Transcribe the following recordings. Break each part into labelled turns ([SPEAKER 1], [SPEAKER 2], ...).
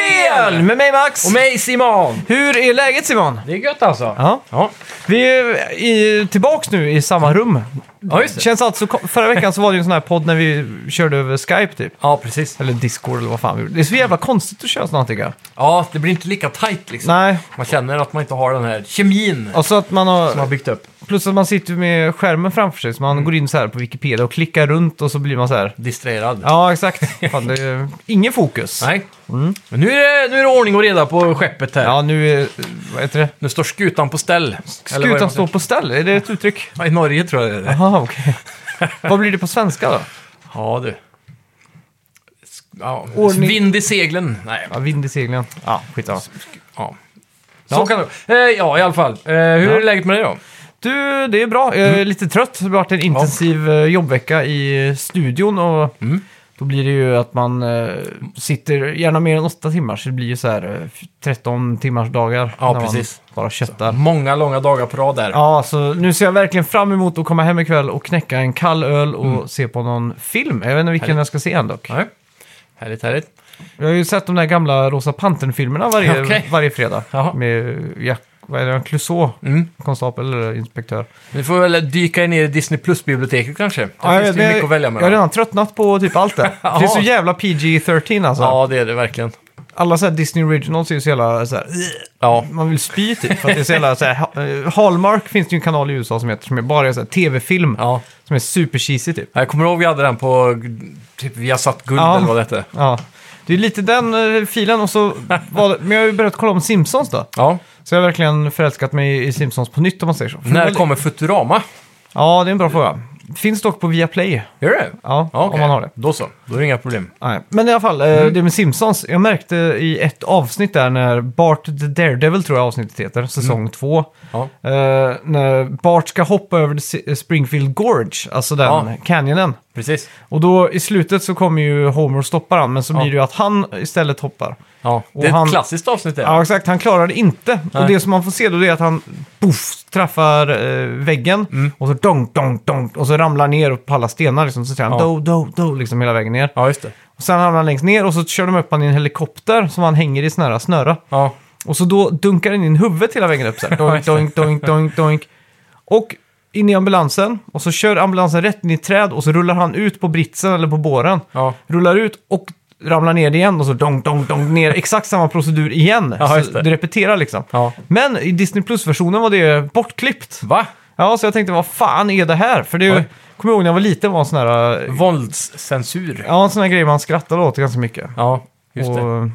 [SPEAKER 1] Jajamän, med mig Max!
[SPEAKER 2] Och mig Simon!
[SPEAKER 1] Hur är läget Simon?
[SPEAKER 2] Det är gött alltså.
[SPEAKER 1] Ja.
[SPEAKER 2] Ja,
[SPEAKER 1] Vi är ju i, tillbaks nu i samma rum.
[SPEAKER 2] ja just det.
[SPEAKER 1] Känns alltså, förra veckan så var det ju en sån här podd när vi körde över Skype typ.
[SPEAKER 2] Ja, precis.
[SPEAKER 1] Eller Discord eller vad fan vi gjorde. Det är så jävla konstigt att köra sånt här, tycker jag.
[SPEAKER 2] Ja, det blir inte lika tajt liksom.
[SPEAKER 1] Nej,
[SPEAKER 2] Man känner att man inte har den här kemin
[SPEAKER 1] och så att man
[SPEAKER 2] som har
[SPEAKER 1] har...
[SPEAKER 2] byggt upp.
[SPEAKER 1] Plus att man sitter med skärmen framför sig, så man går in så här på Wikipedia och klickar runt och så blir man så här...
[SPEAKER 2] Distraherad.
[SPEAKER 1] Ja, exakt. Fan, det är ingen fokus.
[SPEAKER 2] Nej. Men nu är, det, nu är det ordning och reda på skeppet här.
[SPEAKER 1] Ja, nu är... Vad heter det?
[SPEAKER 2] Nu står skutan på ställ. Eller vad är det
[SPEAKER 1] Skutan
[SPEAKER 2] man
[SPEAKER 1] står på ställe, är det ett uttryck?
[SPEAKER 2] säger? Ja, I Norge tror jag det är det.
[SPEAKER 1] Jaha, okej. vad blir det på svenska då?
[SPEAKER 2] Ja, du. Sk- Ja.
[SPEAKER 1] Ordning-
[SPEAKER 2] Vind i seglen. Nej,
[SPEAKER 1] Ja, vind i seglen. Ja, skitsamma.
[SPEAKER 2] ja. Så kan det vara. eh, Ja, i alla fall. Eh, hur är läget med dig då?
[SPEAKER 1] Du, det är bra. Jag är
[SPEAKER 2] Mm.
[SPEAKER 1] lite trött. Det har varit en intensiv eh, jobbvecka i studion och
[SPEAKER 2] Mm.
[SPEAKER 1] då blir det ju att man eh, sitter gärna mer än åtta timmar så det blir ju så här eh, 13 timmars dagar
[SPEAKER 2] Ja,
[SPEAKER 1] när
[SPEAKER 2] precis.
[SPEAKER 1] man bara köttar.
[SPEAKER 2] Många långa dagar på rad där.
[SPEAKER 1] Ja, så nu ser jag verkligen fram emot att komma hem ikväll och knäcka en kall öl och se på någon film. Jag vet inte vilken
[SPEAKER 2] Mm. Härligt.
[SPEAKER 1] jag ska se än dock.
[SPEAKER 2] Nej. Härligt, härligt.
[SPEAKER 1] Jag har ju sett de där gamla Rosa Pantern-filmerna varje,
[SPEAKER 2] Okej.
[SPEAKER 1] varje fredag.
[SPEAKER 2] Jaha.
[SPEAKER 1] Med Jack, vad är det, Clouseau,
[SPEAKER 2] Mm.
[SPEAKER 1] konstapel eller inspektör.
[SPEAKER 2] Vi får väl dyka ner i Disney Plus-biblioteket kanske. Där
[SPEAKER 1] Ja,
[SPEAKER 2] finns det ju mycket att välja
[SPEAKER 1] Jag har
[SPEAKER 2] mellan.
[SPEAKER 1] redan tröttnat på typ allt det.
[SPEAKER 2] Ja.
[SPEAKER 1] Det är så jävla PG-13 alltså.
[SPEAKER 2] Ja, det är det verkligen.
[SPEAKER 1] Alla så här Disney Originals är ju så jävla så här,
[SPEAKER 2] Ja,
[SPEAKER 1] man vill spy typ. För att det är så jävla så här, ha- eh, Hallmark finns det ju en kanal i USA som heter, som är bara är så här tv-film.
[SPEAKER 2] ja.
[SPEAKER 1] Som är super cheesy typ.
[SPEAKER 2] Jag kommer ihåg vi hade den på typ Viasat Guld
[SPEAKER 1] Ja.
[SPEAKER 2] eller vad det hette.
[SPEAKER 1] Ja. Det är lite den eh, filen och så var det, men jag har ju börjat kolla om Simpsons då.
[SPEAKER 2] Ja.
[SPEAKER 1] Så jag har verkligen förälskat mig i Simpsons på nytt om man säger så. För det var
[SPEAKER 2] När
[SPEAKER 1] li-
[SPEAKER 2] kommer Futurama?
[SPEAKER 1] Ja, det är en bra fråga. Finns dock på Viaplay.
[SPEAKER 2] Gör det?
[SPEAKER 1] Ja,
[SPEAKER 2] Ja, okej. Mm.
[SPEAKER 1] om man har det.
[SPEAKER 2] Då så, då är det inga problem.
[SPEAKER 1] Nej. Men i alla fall, eh, det med Simpsons. Jag märkte i ett avsnitt där när Bart the Daredevil tror jag avsnittet heter, säsong
[SPEAKER 2] Mm.
[SPEAKER 1] två.
[SPEAKER 2] Ja.
[SPEAKER 1] Eh, när Bart ska hoppa över the Springfield Gorge, alltså den
[SPEAKER 2] Ja.
[SPEAKER 1] canyonen.
[SPEAKER 2] Precis.
[SPEAKER 1] Och då i slutet så kommer ju Homer och stoppar han, men så
[SPEAKER 2] Ja.
[SPEAKER 1] blir det ju att han istället hoppar.
[SPEAKER 2] Ja.
[SPEAKER 1] Och
[SPEAKER 2] Det är ett
[SPEAKER 1] han-
[SPEAKER 2] klassiskt avsnitt det.
[SPEAKER 1] Ja, exakt. Han klarar det inte. Och
[SPEAKER 2] Nej.
[SPEAKER 1] det som man får se då det är att han poff, träffar eh, väggen
[SPEAKER 2] Mm.
[SPEAKER 1] och så donk, donk, donk och så ramlar ner på alla stenar liksom. Så säger han
[SPEAKER 2] Ja.
[SPEAKER 1] do, do, do liksom hela vägen ner.
[SPEAKER 2] Ja, just det.
[SPEAKER 1] Och sen hamnar han längst ner och så kör de upp han i en helikopter som han hänger i sån här snöra.
[SPEAKER 2] Ja.
[SPEAKER 1] Och så då dunkar den in huvudet hela vägen upp så här. Doink, doink, doink, doink, doink. Och in i ambulansen. Och så kör ambulansen rätt in i ett träd och så rullar han ut på britsen eller på båren.
[SPEAKER 2] Ja.
[SPEAKER 1] Rullar ut och ramlar ner igen och så donk, donk, donk ner. Exakt samma procedur igen.
[SPEAKER 2] Ja, just
[SPEAKER 1] så
[SPEAKER 2] det.
[SPEAKER 1] det repeterar liksom.
[SPEAKER 2] ja.
[SPEAKER 1] Men i Disney Plus-versionen var det bortklippt.
[SPEAKER 2] Va?
[SPEAKER 1] Ja, så jag tänkte vad fan är det här? För det är ju,
[SPEAKER 2] Oj.
[SPEAKER 1] kommer jag ihåg när jag var liten var en sån här, eh,
[SPEAKER 2] Våldscensur.
[SPEAKER 1] ja en sån här grej man skrattade åt ganska mycket.
[SPEAKER 2] Ja, just
[SPEAKER 1] och
[SPEAKER 2] det.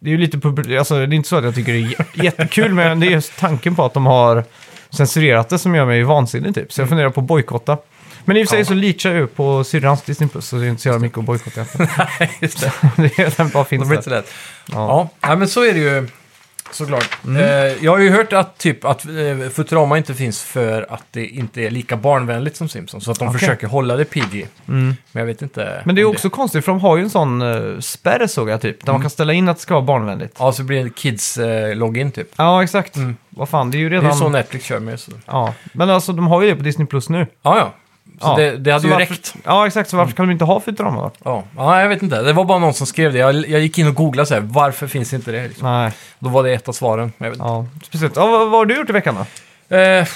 [SPEAKER 1] det. är ju lite pub- alltså, det är inte så att jag tycker det är j- jättekul, men det är just tanken på att de har censurerat det som gör mig vansinnig typ. Så jag funderar på att bojkotta. Men i och för sig
[SPEAKER 2] Mm. Ja.
[SPEAKER 1] så litar jag ju på syrrans Disney Plus, så det är inte så jävla mycket att bojkotta. egentligen.
[SPEAKER 2] Nej, just det.
[SPEAKER 1] det är den bara
[SPEAKER 2] Då
[SPEAKER 1] finns
[SPEAKER 2] blir det
[SPEAKER 1] där.
[SPEAKER 2] inte lätt.
[SPEAKER 1] Ja. Mm.
[SPEAKER 2] Ja, Nej, men så är det ju såklart. Eh, jag har ju hört att, typ, att eh, Futurama inte finns för att det inte är lika barnvänligt som Simpsons. Så att de
[SPEAKER 1] Okej.
[SPEAKER 2] försöker hålla det PG.
[SPEAKER 1] Mm.
[SPEAKER 2] Men jag vet inte.
[SPEAKER 1] Men det är
[SPEAKER 2] om
[SPEAKER 1] också konstigt, för de har ju en sån uh, spärr såg jag typ, där man
[SPEAKER 2] Mm.
[SPEAKER 1] kan ställa in att det ska vara barnvänligt.
[SPEAKER 2] Ja, så blir det kids-login typ.
[SPEAKER 1] Ja, exakt.
[SPEAKER 2] Mm.
[SPEAKER 1] Vad fan, det är ju
[SPEAKER 2] Det är
[SPEAKER 1] redan...
[SPEAKER 2] ju så Netflix kör med. Så.
[SPEAKER 1] ja. Men alltså de har ju det på Disney Plus nu.
[SPEAKER 2] Ja, ja. Så
[SPEAKER 1] Ja.
[SPEAKER 2] Det, det hade
[SPEAKER 1] Så
[SPEAKER 2] ju
[SPEAKER 1] varför-
[SPEAKER 2] räckt.
[SPEAKER 1] Ja, exakt. Så varför
[SPEAKER 2] Mm.
[SPEAKER 1] kan de inte ha Futurama då?
[SPEAKER 2] Ja. ja, jag vet inte. Det var bara någon som skrev det. Jag, jag gick in och googlade så här, varför finns inte det? Liksom.
[SPEAKER 1] Nej,
[SPEAKER 2] Då var det ett av svaren. Men Jag vet inte.
[SPEAKER 1] ja. Speciellt. Ja, vad, vad har du gjort i veckan då?
[SPEAKER 2] Eh,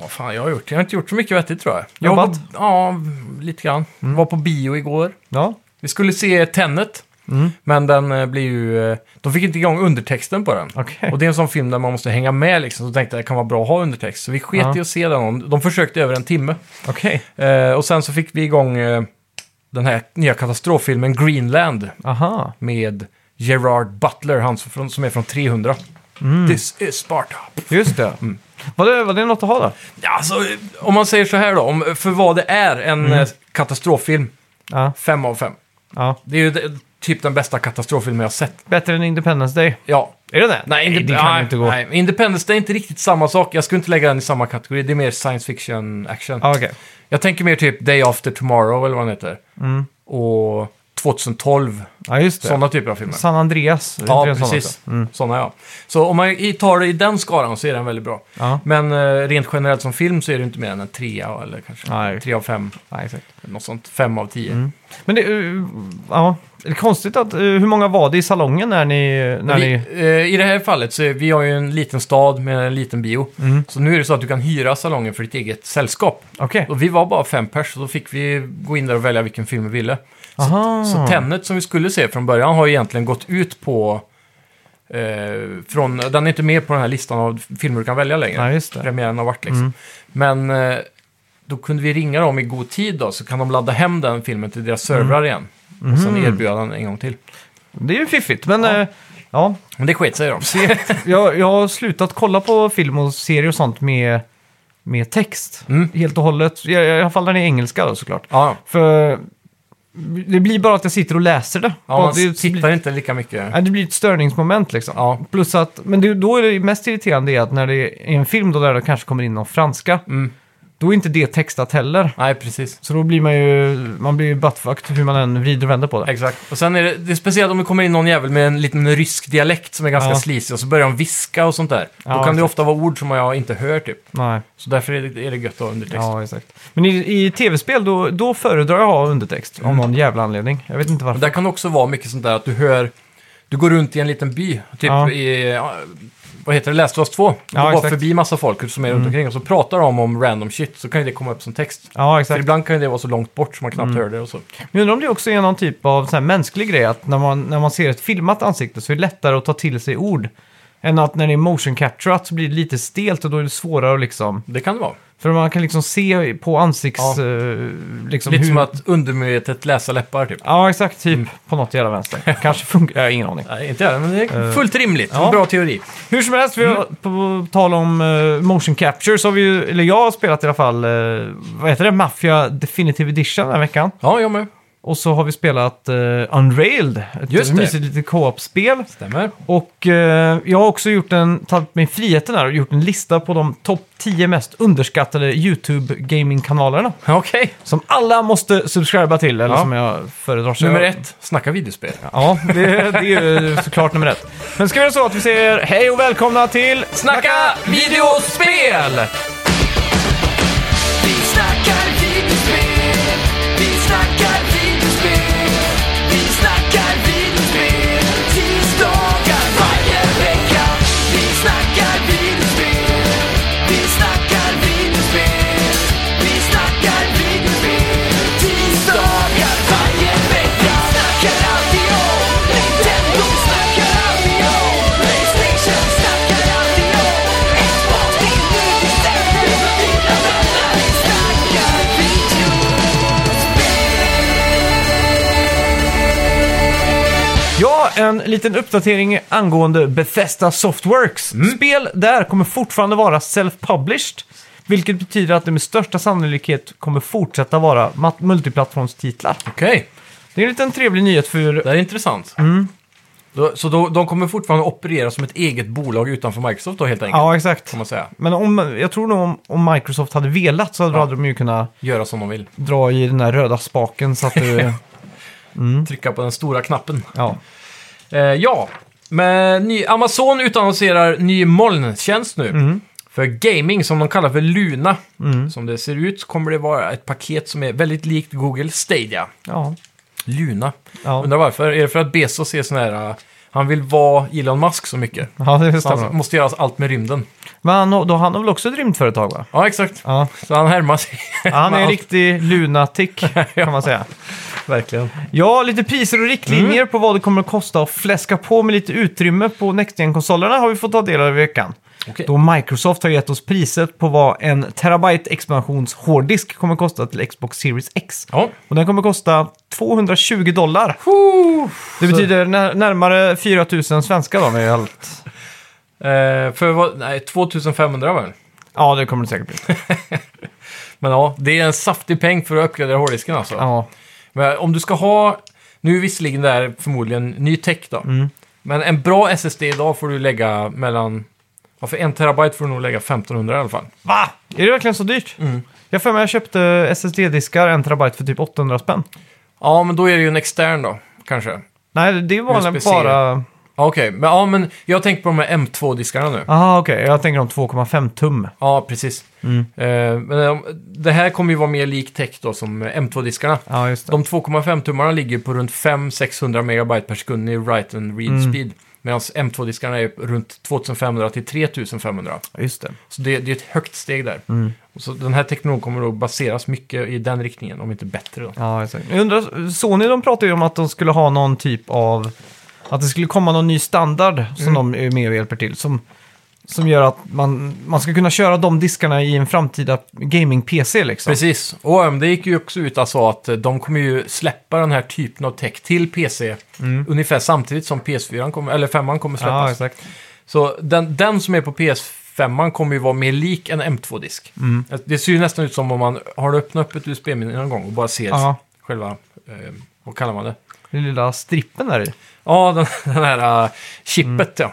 [SPEAKER 2] vad fan jag har gjort? Jag har inte gjort så mycket vettigt tror jag. jag
[SPEAKER 1] Jobbat? Mm.
[SPEAKER 2] var på, ja, lite grann. Var på bio igår.
[SPEAKER 1] Ja.
[SPEAKER 2] Vi skulle se Tenet,
[SPEAKER 1] Mm.
[SPEAKER 2] men den eh, blir ju... eh, De fick inte igång undertexten på den.
[SPEAKER 1] Okej.
[SPEAKER 2] Och det är en sån film där man måste hänga med liksom. Så tänkte jag det kan vara bra att ha undertext. Så vi sket
[SPEAKER 1] Ja.
[SPEAKER 2] i att se den. De försökte i över en timme.
[SPEAKER 1] Okej.
[SPEAKER 2] Eh, och sen så fick vi igång eh, den här nya katastroffilmen Greenland
[SPEAKER 1] Aha.
[SPEAKER 2] med Gerard Butler, han som, från- som är från 300.
[SPEAKER 1] Mm.
[SPEAKER 2] This is Sparta.
[SPEAKER 1] Just det.
[SPEAKER 2] Mm.
[SPEAKER 1] Var, det var det något att ha då?
[SPEAKER 2] Ja, alltså, eh, om man säger så här då, om, för vad det är, en
[SPEAKER 1] Mm.
[SPEAKER 2] eh, katastroffilm,
[SPEAKER 1] Ja.
[SPEAKER 2] fem av fem.
[SPEAKER 1] ja.
[SPEAKER 2] Det är ju eh, typ den bästa katastroffilmen jag har sett.
[SPEAKER 1] Bättre än Independence Day.
[SPEAKER 2] Ja,
[SPEAKER 1] Är det det?
[SPEAKER 2] Indep-
[SPEAKER 1] det kan
[SPEAKER 2] nej,
[SPEAKER 1] ju inte gå.
[SPEAKER 2] Nej. Independence Day är inte riktigt samma sak. Jag skulle inte lägga den i samma kategori. Det är mer science fiction action.
[SPEAKER 1] Ja, Okej.
[SPEAKER 2] Jag tänker mer typ Day After Tomorrow eller vad den heter.
[SPEAKER 1] Mm.
[SPEAKER 2] Och 2012.
[SPEAKER 1] Ja, Mm. just det.
[SPEAKER 2] Sådana typer av filmer.
[SPEAKER 1] San Andreas. är
[SPEAKER 2] Ja,
[SPEAKER 1] inte det en sån också?
[SPEAKER 2] precis. Sådana ja. Så om man i- tar det i den skaran så är den väldigt bra.
[SPEAKER 1] Ja.
[SPEAKER 2] Men eh, rent generellt som film så är det inte mer än en trea eller kanske
[SPEAKER 1] Nej.
[SPEAKER 2] tre av fem.
[SPEAKER 1] Nej, exakt.
[SPEAKER 2] Något sånt. Fem av tio.
[SPEAKER 1] Mm. Men det, eh, ja, det är konstigt att, eh, hur många var det i salongen när ni... När
[SPEAKER 2] vi,
[SPEAKER 1] ni
[SPEAKER 2] eh, I det här fallet så är, vi har ju en liten stad med en liten bio.
[SPEAKER 1] mm,
[SPEAKER 2] Så nu är det så att du kan hyra salongen för ditt eget sällskap.
[SPEAKER 1] Okej.
[SPEAKER 2] Och vi var bara fem pers, så då fick vi gå in där och välja vilken film vi ville.
[SPEAKER 1] Aha.
[SPEAKER 2] Så Tenet som vi skulle se från början har egentligen gått ut på... Eh, från, den är inte med på den här listan av filmer du kan välja längre.
[SPEAKER 1] Ja, just det. Mm.
[SPEAKER 2] Premiären har varit liksom. Men eh, då kunde vi ringa dem i god tid då, så kan de ladda hem den filmen till deras servrar
[SPEAKER 1] Mm.
[SPEAKER 2] igen. Och sen
[SPEAKER 1] Mhm.
[SPEAKER 2] erbjuda den en gång till.
[SPEAKER 1] Det är ju fiffigt, men...
[SPEAKER 2] Ja.
[SPEAKER 1] Ja. Ja,
[SPEAKER 2] Men det sket sig då.
[SPEAKER 1] jag, jag har slutat kolla på film och serier och sånt med, med text.
[SPEAKER 2] Mm.
[SPEAKER 1] Helt och hållet. I, I alla fall när det är engelska då såklart.
[SPEAKER 2] Ja,
[SPEAKER 1] För det blir bara att jag sitter och läser det.
[SPEAKER 2] ja
[SPEAKER 1] Bara
[SPEAKER 2] man
[SPEAKER 1] det,
[SPEAKER 2] tittar
[SPEAKER 1] blir,
[SPEAKER 2] inte lika mycket.
[SPEAKER 1] Nej, det blir ett störningsmoment liksom.
[SPEAKER 2] Ja.
[SPEAKER 1] Plus att, men det, då är det mest irriterande är att när det är en film då där det kanske kommer in någon franska,
[SPEAKER 2] Mm.
[SPEAKER 1] då är inte det textat heller.
[SPEAKER 2] Nej, precis.
[SPEAKER 1] Så då blir man ju, man blir ju buttfucked hur man än vrider och vänder på det.
[SPEAKER 2] Exakt. Och sen är det, det är speciellt om det kommer in någon jävel med en liten rysk dialekt som är ganska
[SPEAKER 1] Ja.
[SPEAKER 2] slisig och så börjar de viska och sånt där.
[SPEAKER 1] Ja,
[SPEAKER 2] Då kan det
[SPEAKER 1] exakt.
[SPEAKER 2] ofta vara ord som jag inte hör typ.
[SPEAKER 1] Nej,
[SPEAKER 2] Så därför är det, är det gött att ha undertext.
[SPEAKER 1] ja exakt. Men i, i tv-spel då, då föredrar jag att ha undertext
[SPEAKER 2] Mm.
[SPEAKER 1] av någon jävla anledning. Jag vet inte
[SPEAKER 2] Och
[SPEAKER 1] varför.
[SPEAKER 2] där kan det också vara mycket sånt där att du hör, du går runt i en liten by, typ
[SPEAKER 1] Ja.
[SPEAKER 2] i, ja, vad heter det, Last of Us 2. Du
[SPEAKER 1] Ja,
[SPEAKER 2] går
[SPEAKER 1] exakt. Mm.
[SPEAKER 2] förbi massa folk som är runt omkring och så pratar de om random shit så kan ju det komma upp som text.
[SPEAKER 1] Ja,
[SPEAKER 2] För
[SPEAKER 1] exakt. Mm.
[SPEAKER 2] ibland kan ju det vara så långt bort så man knappt hör det och så.
[SPEAKER 1] Jag undrar om det också är någon typ av så här mänsklig grej, att när man, när man ser ett filmat ansikte så är det lättare att ta till sig ord. Än att när det är motion capturat så blir det lite stelt och då är det svårare att liksom...
[SPEAKER 2] Det kan det vara.
[SPEAKER 1] För man kan liksom se på ansikts...
[SPEAKER 2] Ja.
[SPEAKER 1] eh, liksom
[SPEAKER 2] Lite
[SPEAKER 1] hur...
[SPEAKER 2] som att undermedvetet läsa läppar typ.
[SPEAKER 1] Ja, exakt. Typ på något jävla vänster. Kanske funkar... Jag har ingen aning.
[SPEAKER 2] Nej, inte jag, men det är fullt rimligt.
[SPEAKER 1] ja.
[SPEAKER 2] Bra teori.
[SPEAKER 1] Hur som helst, vi har,
[SPEAKER 2] Mm.
[SPEAKER 1] på tal om eh, motion capture så har vi ju, eller jag har spelat i alla fall, eh, vad heter det, Mafia Definitive Edition den här veckan.
[SPEAKER 2] Ja, jag med.
[SPEAKER 1] Och så har vi spelat eh, Unrailed, ett
[SPEAKER 2] Just det.
[SPEAKER 1] mysigt litet co-op-spel.
[SPEAKER 2] Stämmer.
[SPEAKER 1] Och eh, jag har också gjort en, tagit mig friheten här och gjort en lista på de topp 10 mest underskattade YouTube-gaming-kanalerna.
[SPEAKER 2] Okej.
[SPEAKER 1] Som alla måste subscriba till, eller
[SPEAKER 2] Ja.
[SPEAKER 1] som jag föredrar. Så
[SPEAKER 2] Nummer
[SPEAKER 1] jag-
[SPEAKER 2] ett, snacka videospel.
[SPEAKER 1] Ja, det, det är ju såklart nummer ett. Men ska vi göra så att vi säger hej och välkomna till
[SPEAKER 2] Snacka videospel!
[SPEAKER 3] Vi snackar videospel, vi snackar videospel, vi snackar videospel, tisdagar varje vecka. Vi snackar videospel, vi snackar videospel, vi snackar videospel, tisdagar varje vecka. Snackar alltid om Nintendo, snackar alltid om Playstation, snackar alltid om Xbox, Nintendo, Nintendo, dina vänner. Vi snackar video.
[SPEAKER 1] Ja, en liten uppdatering angående Bethesda Softworks.
[SPEAKER 2] Mm.
[SPEAKER 1] Spel där kommer fortfarande vara self-published, vilket betyder att det med största sannolikhet kommer fortsätta vara mat- multiplattformstitlar.
[SPEAKER 2] Okej,
[SPEAKER 1] Det är en liten trevlig nyhet för... eh,
[SPEAKER 2] det här är intressant. Då, så då, de kommer fortfarande operera som ett eget bolag utanför Microsoft då helt enkelt?
[SPEAKER 1] Ja, exakt.
[SPEAKER 2] Kan man säga.
[SPEAKER 1] Men om, jag tror nog om, om Microsoft hade velat så hade de ju kunnat
[SPEAKER 2] Göra som de vill.
[SPEAKER 1] dra i den där röda spaken så att du...
[SPEAKER 2] Trycka på den stora knappen.
[SPEAKER 1] ja.
[SPEAKER 2] Eh, ja, men ny, Amazon utannonserar ny molntjänst nu.
[SPEAKER 1] Mm.
[SPEAKER 2] För gaming, som de kallar för Luna. Som det ser ut så kommer det vara ett paket som är väldigt likt Google Stadia.
[SPEAKER 1] Ja.
[SPEAKER 2] Luna.
[SPEAKER 1] Ja.
[SPEAKER 2] Undrar varför. Är det för att Bezos är sån här... eh, Han vill vara Elon Musk så mycket.
[SPEAKER 1] Ja, det
[SPEAKER 2] Så han
[SPEAKER 1] stämmer.
[SPEAKER 2] måste göra allt med rymden.
[SPEAKER 1] Men han, har- då har han väl också ett rymdföretag, va?
[SPEAKER 2] Ja, exakt.
[SPEAKER 1] Ja.
[SPEAKER 2] Så han härmar sig.
[SPEAKER 1] Ja, Han är
[SPEAKER 2] med
[SPEAKER 1] en
[SPEAKER 2] allt.
[SPEAKER 1] riktig lunatic, kan man säga.
[SPEAKER 2] Verkligen.
[SPEAKER 1] Ja, lite priser och riktlinjer på vad det kommer att kosta att fläska på med lite utrymme på Next konsolerna har vi fått ta del av i veckan.
[SPEAKER 2] Okej.
[SPEAKER 1] Då Microsoft har gett oss priset på vad en terabyte expansions hårddisk kommer att kosta till Xbox Series X.
[SPEAKER 2] Ja.
[SPEAKER 1] Och den kommer att kosta 220 dollar. Det betyder när, närmare 4 000 svenska då med allt.
[SPEAKER 2] Eh, för vad, nej, 2500 väl?
[SPEAKER 1] Ja, det kommer det säkert bli.
[SPEAKER 2] Men ja, det är en saftig peng för att uppgradera hårddisken alltså.
[SPEAKER 1] Ja,
[SPEAKER 2] Men om du ska ha, nu är visserligen det här förmodligen ny tech då. Men en bra SSD idag får du lägga mellan, ja för en terabyte får du nog lägga 1500 i alla fall.
[SPEAKER 1] Va? Mm. Är det verkligen så dyrt? Jag för mig jag köpte SSD-diskar, en terabyte för typ 800 spänn.
[SPEAKER 2] Ja, men då är det ju en extern då, kanske.
[SPEAKER 1] Nej, det var väl
[SPEAKER 2] USB-C.
[SPEAKER 1] bara...
[SPEAKER 2] Ja, Okej, men, ja, men jag tänkte på de här M2-diskarna nu. Ja,
[SPEAKER 1] Aha, okej. Jag tänker om 2,5 tum.
[SPEAKER 2] precis. Eh, men eh, det här kommer ju vara mer lik tech då som eh, M2-diskarna.
[SPEAKER 1] Ja, just det.
[SPEAKER 2] De 2,5-tummarna ligger på runt 500-600 megabyte per sekund i write and read speed. Medan M2-diskarna är runt 2500 till 3500.
[SPEAKER 1] Just det.
[SPEAKER 2] Så det, det är ett högt steg där.
[SPEAKER 1] Mm.
[SPEAKER 2] Och så den här teknologin kommer att baseras mycket i den riktningen, om inte bättre. Då.
[SPEAKER 1] Ja, exakt. Jag undrar, Sony de pratade ju om att de skulle ha någon typ av... Att det skulle komma någon ny standard som
[SPEAKER 2] Mm.
[SPEAKER 1] de är med och hjälper till. Som, som gör att man, man ska kunna köra de diskarna i en framtida gaming-PC liksom.
[SPEAKER 2] Precis, och AMD gick ju också ut och sa att eh, de kommer ju släppa den här typen av tech till PC ungefär samtidigt som PS4 kommer, eller 5 kommer släppas.
[SPEAKER 1] Mm. Ja, exakt.
[SPEAKER 2] Så den, den som är på PS5 kommer ju vara mer lik en M2-disk.
[SPEAKER 1] Mm.
[SPEAKER 2] Det ser ju nästan ut som om man har öppnat upp ett USB-minne någon gång och bara ser
[SPEAKER 1] Ja.
[SPEAKER 2] själva, eh, vad kallar man det?
[SPEAKER 1] Den lilla strippen där i.
[SPEAKER 2] Ja, den, den här eh, chippet
[SPEAKER 1] Mm.
[SPEAKER 2] ja.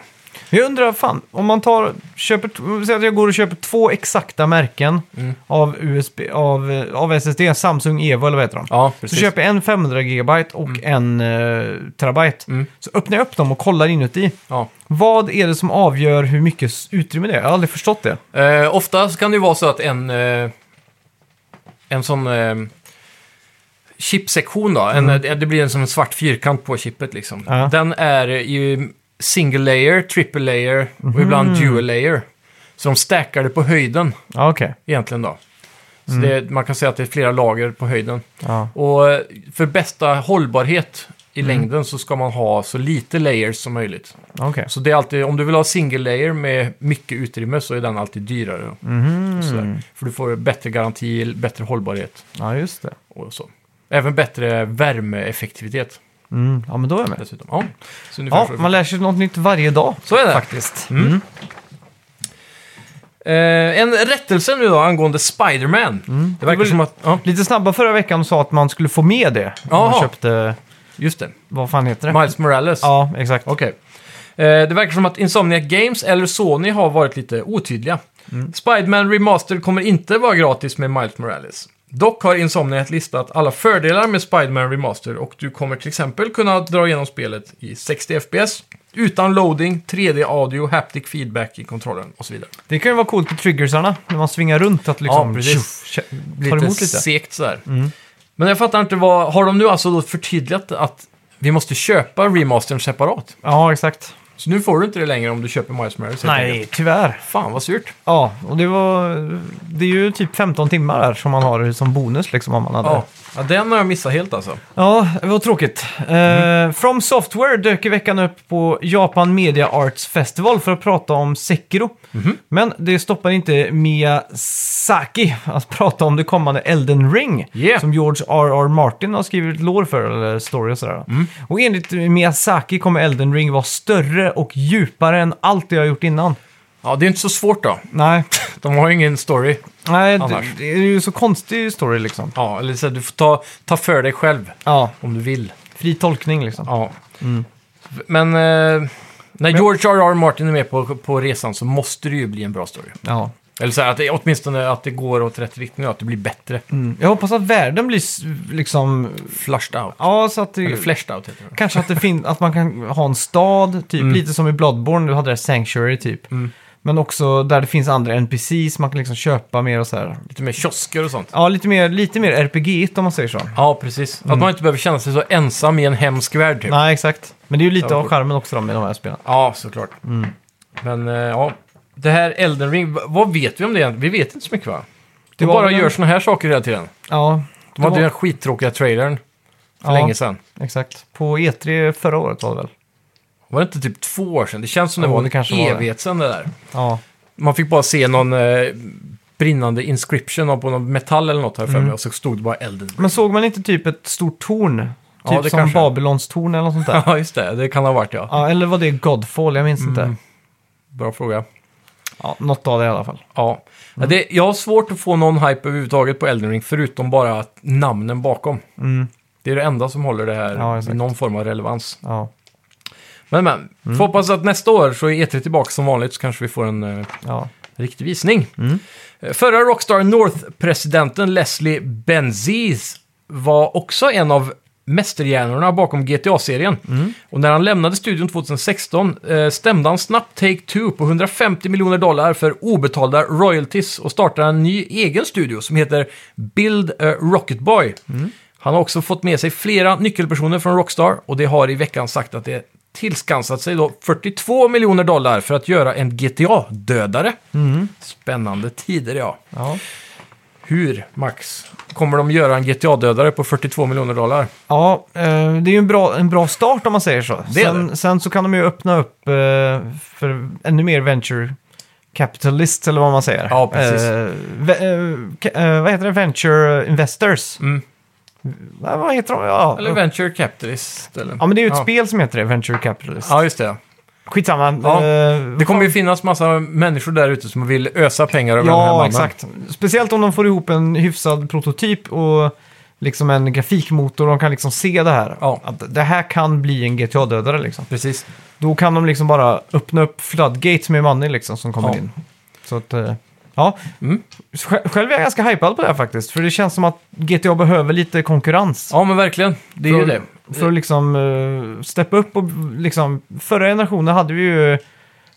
[SPEAKER 1] Jag undrar, fan, om man tar, köper, t- säg att jag går och köper två exakta märken
[SPEAKER 2] Mm.
[SPEAKER 1] av, USB, av, eh, av SSD, Samsung Evo eller vad heter de?
[SPEAKER 2] Ja,
[SPEAKER 1] så
[SPEAKER 2] precis. Mm.
[SPEAKER 1] köper jag en 500 GB och en eh, terabyte. Så öppnar jag upp dem och kollar inuti.
[SPEAKER 2] Ja.
[SPEAKER 1] Vad är det som avgör hur mycket s- utrymme det är? Jag har aldrig förstått det.
[SPEAKER 2] Eh, ofta så kan det ju vara så att en, eh, en sån eh, chipsektion då, en, det blir en som en svart fyrkant på chippet liksom.
[SPEAKER 1] Ja.
[SPEAKER 2] Den är i single layer, triple layer och ibland dual layer. Så de stackar det på höjden
[SPEAKER 1] Ja, okej.
[SPEAKER 2] egentligen då. Så det, man kan säga att det är flera lager på höjden.
[SPEAKER 1] Ja.
[SPEAKER 2] Och eh, för bästa hållbarhet i längden så ska man ha så lite layers som möjligt.
[SPEAKER 1] okej.
[SPEAKER 2] Så det är alltid, om du vill ha single layer med mycket utrymme så är den alltid dyrare.
[SPEAKER 1] Mhm.
[SPEAKER 2] Och
[SPEAKER 1] Mm.
[SPEAKER 2] sådär. För du får bättre garanti, bättre hållbarhet
[SPEAKER 1] Ja, just det.
[SPEAKER 2] och så. Även bättre värmeeffektivitet
[SPEAKER 1] Mm. Ja, men då är jag med.
[SPEAKER 2] dessutom. Ja, så ungefär
[SPEAKER 1] Ja,
[SPEAKER 2] så.
[SPEAKER 1] man lär sig något nytt varje dag.
[SPEAKER 2] Så är det. Mm.
[SPEAKER 1] Faktiskt. Mm.
[SPEAKER 2] Eh, en rättelse nu då angående Spider-Man.
[SPEAKER 1] Mm.
[SPEAKER 2] Det verkar som att... Ja,
[SPEAKER 1] Lite snabba förra veckan sa att man skulle få med det. Om
[SPEAKER 2] Jaha.
[SPEAKER 1] man köpte,
[SPEAKER 2] just det.
[SPEAKER 1] vad fan heter det?
[SPEAKER 2] Miles Morales.
[SPEAKER 1] Ja, exakt.
[SPEAKER 2] Okej. Eh, det verkar som att Insomniac Games eller Sony har varit lite otydliga.
[SPEAKER 1] Mm.
[SPEAKER 2] Spiderman Remastered kommer inte vara gratis med Miles Morales. Dock har Insomniac listat alla fördelar med Spiderman Remastered och du kommer till exempel kunna dra igenom spelet i 60 FPS utan loading, 3D-audio, haptic feedback i kontrollen och så vidare.
[SPEAKER 1] Det kan ju vara coolt på triggersarna, när man svingar runt, att
[SPEAKER 2] Ja,
[SPEAKER 1] liksom
[SPEAKER 2] precis.
[SPEAKER 1] tjoff, tja- tar
[SPEAKER 2] Lite
[SPEAKER 1] emot lite. Mm.
[SPEAKER 2] segt sådär. Men jag fattar inte, vad, har de nu alltså då förtydligat att vi måste köpa remastern separat?
[SPEAKER 1] Ja, exakt.
[SPEAKER 2] Så nu får du inte det längre om du köper Miles Morales helt enkelt.
[SPEAKER 1] Nej, tyvärr.
[SPEAKER 2] Fan vad surt.
[SPEAKER 1] Ja, och det var... Det är ju typ 15 timmar där som man har som bonus liksom om man hade...
[SPEAKER 2] Ja. ja, den har jag missat helt alltså.
[SPEAKER 1] Ja, det var tråkigt. Eh, From Software dök i veckan upp på Japan Media Arts Festival för att prata om Sekiro.
[SPEAKER 2] Mhm.
[SPEAKER 1] Men det stoppar inte Miyazaki att prata om det kommande Elden Ring.
[SPEAKER 2] Yeah.
[SPEAKER 1] Som George R.R. Martin har skrivit lore för, eller story och sådär.
[SPEAKER 2] Mm.
[SPEAKER 1] Och enligt Miyazaki kommer Elden Ring vara större och djupare än allt jag har gjort innan.
[SPEAKER 2] Ja, det är inte så svårt då.
[SPEAKER 1] Nej,
[SPEAKER 2] De har ju ingen story.
[SPEAKER 1] Nej det,
[SPEAKER 2] Annars.
[SPEAKER 1] det är ju så konstig story liksom.
[SPEAKER 2] Ja, eller så här, du får ta, ta för dig själv
[SPEAKER 1] Ja,
[SPEAKER 2] om du vill.
[SPEAKER 1] fri tolkning liksom.
[SPEAKER 2] Ja. Men eh, när George R.R. Martin är med på, på resan så måste det ju bli en bra story.
[SPEAKER 1] Ja.
[SPEAKER 2] Eller så här, att det, åtminstone att det går åt rätt riktning och att det blir bättre.
[SPEAKER 1] Mm. Jag hoppas att världen blir s- liksom
[SPEAKER 2] Flushed out.
[SPEAKER 1] Ja, så att det,
[SPEAKER 2] Eller flashed out heter det.
[SPEAKER 1] kanske att, det fin- att man kan ha en stad,
[SPEAKER 2] Mm.
[SPEAKER 1] typ lite som i Bloodborne, du hade det Sanctuary typ. Men också där det finns andra NPCs, man kan liksom köpa mer och så här.
[SPEAKER 2] Lite mer kiosker och sånt.
[SPEAKER 1] Ja, lite mer, lite mer RPG-igt om man säger så.
[SPEAKER 2] Ja, precis. Att man inte behöver känna sig så ensam i en hemsk värld typ.
[SPEAKER 1] Nej, exakt. Men det är ju lite
[SPEAKER 2] Ja,
[SPEAKER 1] av
[SPEAKER 2] cool.
[SPEAKER 1] charmen också då, med de här spelen.
[SPEAKER 2] Ja, såklart. Men eh, ja, det här Elden Ring, v- vad vet vi om det egentligen? Vi vet inte så mycket va?
[SPEAKER 1] Det
[SPEAKER 2] Det
[SPEAKER 1] var
[SPEAKER 2] bara
[SPEAKER 1] väl
[SPEAKER 2] gör
[SPEAKER 1] en-
[SPEAKER 2] såna här saker hela tiden.
[SPEAKER 1] Ja,
[SPEAKER 2] De hade
[SPEAKER 1] var-
[SPEAKER 2] ju den skittråkiga trailern för
[SPEAKER 1] Ja.
[SPEAKER 2] länge sedan.
[SPEAKER 1] exakt. På E3 förra året var det väl?
[SPEAKER 2] Var det inte typ två år sedan? Det känns som det
[SPEAKER 1] Jo,
[SPEAKER 2] var
[SPEAKER 1] det
[SPEAKER 2] en
[SPEAKER 1] kanske var det.
[SPEAKER 2] evighet sedan det där.
[SPEAKER 1] Ja,
[SPEAKER 2] Man fick bara se någon eh, brinnande inscription av- på någon metall eller något här för mig och så stod det bara elden.
[SPEAKER 1] men såg man inte typ ett stort torn? Typ
[SPEAKER 2] Ja, det
[SPEAKER 1] som
[SPEAKER 2] kanske.
[SPEAKER 1] Babylons torn eller något sånt där?
[SPEAKER 2] Ja, just det. Det kan ha varit ja.
[SPEAKER 1] ja, eller var det Godfall? Jag minns
[SPEAKER 2] Mm.
[SPEAKER 1] inte.
[SPEAKER 2] Bra fråga.
[SPEAKER 1] Ja, något av det i alla fall.
[SPEAKER 2] Ja. Ja, Det, jag har svårt att få någon hype överhuvudtaget på Elden Ring förutom bara att namnen bakom.
[SPEAKER 1] Mm,
[SPEAKER 2] Det är det enda som håller det här
[SPEAKER 1] Ja,
[SPEAKER 2] i
[SPEAKER 1] exakt.
[SPEAKER 2] någon form av relevans.
[SPEAKER 1] Ja,
[SPEAKER 2] Men men,
[SPEAKER 1] Mm.
[SPEAKER 2] får hoppas att nästa år så är E3 tillbaka som vanligt så kanske vi får en eh,
[SPEAKER 1] ja.
[SPEAKER 2] riktig visning. Eh, Förra Rockstar North-presidenten Leslie Benzies var också en av mästerhjärnorna bakom GTA-serien. Och när han lämnade studion 2016 eh, stämde han snabbt Take-Two på 150 miljoner dollar för obetalda royalties och startade en ny egen studio som heter Build a Rocket Boy. Han har också fått med sig flera nyckelpersoner från Rockstar och det har i veckan sagt att det tillskansat sig då 42 miljoner dollar för att göra en GTA-dödare.
[SPEAKER 1] Mm.
[SPEAKER 2] Spännande tider ja.
[SPEAKER 1] Ja.
[SPEAKER 2] Hur, Max? Kommer de göra en GTA-dödare på 42 miljoner dollar?
[SPEAKER 1] Ja, eh, det är ju en bra, en bra start om man säger så.
[SPEAKER 2] Det är
[SPEAKER 1] sen, sen så kan de ju öppna upp eh, för ännu mer venture capitalists eller vad man säger.
[SPEAKER 2] Ja, precis.
[SPEAKER 1] Eh, ve- eh, ka- eh, vad heter det? Venture investors?
[SPEAKER 2] Mm.
[SPEAKER 1] Nej, vad heter de? Ja,
[SPEAKER 2] Eller Venture Capitalist? Eller?
[SPEAKER 1] ja men det är ju ett
[SPEAKER 2] Ja.
[SPEAKER 1] spel som heter det, Venture Capitalist.
[SPEAKER 2] Ja, just det.
[SPEAKER 1] Skitsamma.
[SPEAKER 2] Ja,
[SPEAKER 1] eh,
[SPEAKER 2] Det kommer ju finnas massa människor där ute som vill ösa pengar över den här
[SPEAKER 1] Ja,
[SPEAKER 2] mannen.
[SPEAKER 1] exakt. Speciellt om de får ihop en hyfsad prototyp och liksom en grafikmotor. De kan liksom se det här.
[SPEAKER 2] Ja.
[SPEAKER 1] Att det här kan bli en GTA-dödare liksom.
[SPEAKER 2] Precis.
[SPEAKER 1] Då kan de liksom bara öppna upp floodgates med money liksom som kommer
[SPEAKER 2] Ja.
[SPEAKER 1] in. Så att, eh, ja.
[SPEAKER 2] Mm.
[SPEAKER 1] Sj- Själv är jag ganska hypad på det här faktiskt. För det känns som att GTA behöver lite konkurrens.
[SPEAKER 2] Ja, men verkligen. Det är ju
[SPEAKER 1] För-
[SPEAKER 2] det.
[SPEAKER 1] För att liksom eh, steppa upp och liksom... Förra generationen hade vi ju...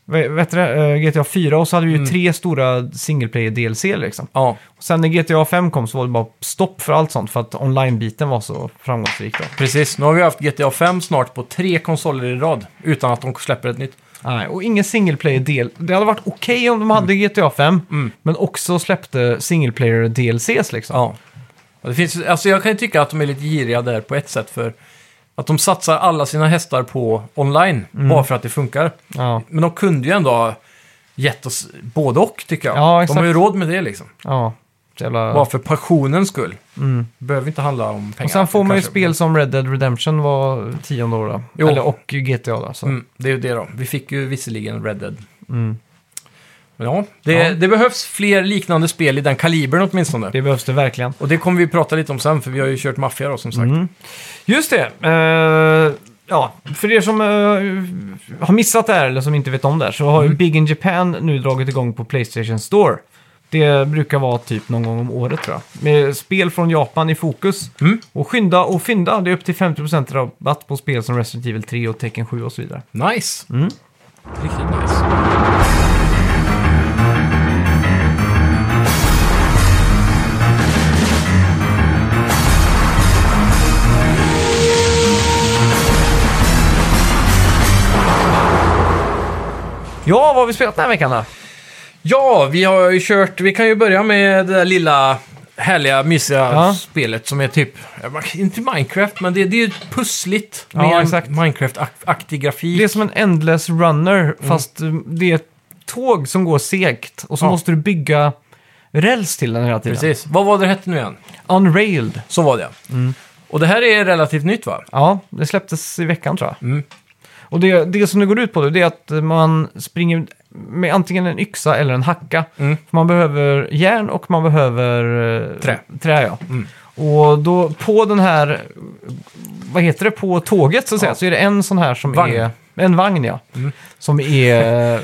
[SPEAKER 1] vad- Vad heter det? Eh, GTA 4 och så hade vi ju
[SPEAKER 2] Mm.
[SPEAKER 1] tre stora single player DLC liksom.
[SPEAKER 2] Ja,
[SPEAKER 1] Och sen när GTA 5 kom så var det bara stopp för allt sånt för att online-biten var så framgångsrik då.
[SPEAKER 2] precis. Nu har vi haft GTA 5 snart på tre konsoler i rad utan att de släpper ett nytt.
[SPEAKER 1] Nej, och ingen single player-del. Det hade varit okej om de hade GTA 5,
[SPEAKER 2] Mm.
[SPEAKER 1] men också släppte single player-DLCs liksom.
[SPEAKER 2] Ja. Och det finns, alltså jag kan ju tycka att de är lite giriga där på ett sätt för att de satsar alla sina hästar på online
[SPEAKER 1] Mm.
[SPEAKER 2] bara för att det funkar.
[SPEAKER 1] Ja,
[SPEAKER 2] Men de kunde ju ändå ha gett oss både och tycker jag.
[SPEAKER 1] Ja,
[SPEAKER 2] de
[SPEAKER 1] exakt.
[SPEAKER 2] har ju råd med det liksom.
[SPEAKER 1] ja. Så Jävla...
[SPEAKER 2] Bara för passionens skull.
[SPEAKER 1] Mm.
[SPEAKER 2] behöver inte handla om pengar.
[SPEAKER 1] Och sen får man ju
[SPEAKER 2] Kanske.
[SPEAKER 1] spel som Red Dead Redemption var tionde år då.
[SPEAKER 2] Jo.
[SPEAKER 1] Eller, och GTA då. Så.
[SPEAKER 2] Mm, det är ju det då. Vi fick ju visserligen Red Dead.
[SPEAKER 1] Mm.
[SPEAKER 2] Men ja, det,
[SPEAKER 1] Ja.
[SPEAKER 2] det behövs fler liknande spel i den kalibern åtminstone.
[SPEAKER 1] Det behövs det verkligen.
[SPEAKER 2] Och det kommer vi prata lite om sen, för vi har ju kört Mafia då som sagt.
[SPEAKER 1] Mm. Just det. Eh, ja, för er som eh, har missat det här eller som inte vet om det här så har ju Big in Japan nu dragit igång på Playstation Store. Det brukar vara typ någon gång om året tror jag. Med spel från Japan i fokus.
[SPEAKER 2] Mm.
[SPEAKER 1] Och skynda och fynda, det är upp till 50% rabatt på spel som Resident Evil 3 och Tekken 7 och så vidare.
[SPEAKER 2] Nice!
[SPEAKER 1] Mm.
[SPEAKER 2] Riktigt nice.
[SPEAKER 1] Ja, vad har vi spelat den här veckan då?
[SPEAKER 2] Ja, vi har ju kört, vi kan ju börja med det där lilla härliga, mysiga
[SPEAKER 1] Ja.
[SPEAKER 2] spelet som är typ, inte Minecraft, men det, det är ju pussligt
[SPEAKER 1] Ja,
[SPEAKER 2] med en
[SPEAKER 1] exakt.
[SPEAKER 2] Minecraft-aktig grafik.
[SPEAKER 1] Det är som en endless runner, fast eh, det är ett tåg som går segt. Och så
[SPEAKER 2] Ja.
[SPEAKER 1] måste du bygga räls till den hela tiden.
[SPEAKER 2] Precis. Vad var det hette nu igen?
[SPEAKER 1] Unrailed.
[SPEAKER 2] Så var det. Och det här är relativt nytt va?
[SPEAKER 1] Mm. Ja, det släpptes i veckan tror jag.
[SPEAKER 2] Mm.
[SPEAKER 1] Och det, det som det går ut på det är att man springer med antingen en yxa eller en hacka.
[SPEAKER 2] Mm.
[SPEAKER 1] För Man behöver järn och man behöver... eh,
[SPEAKER 2] Trä.
[SPEAKER 1] Trä, ja.
[SPEAKER 2] Mm.
[SPEAKER 1] Och då på den här, eh, vad heter det, på tåget så att säga, så är det en sån här som
[SPEAKER 2] Vagn. Mm.
[SPEAKER 1] är... En vagn, ja. Som är... eh,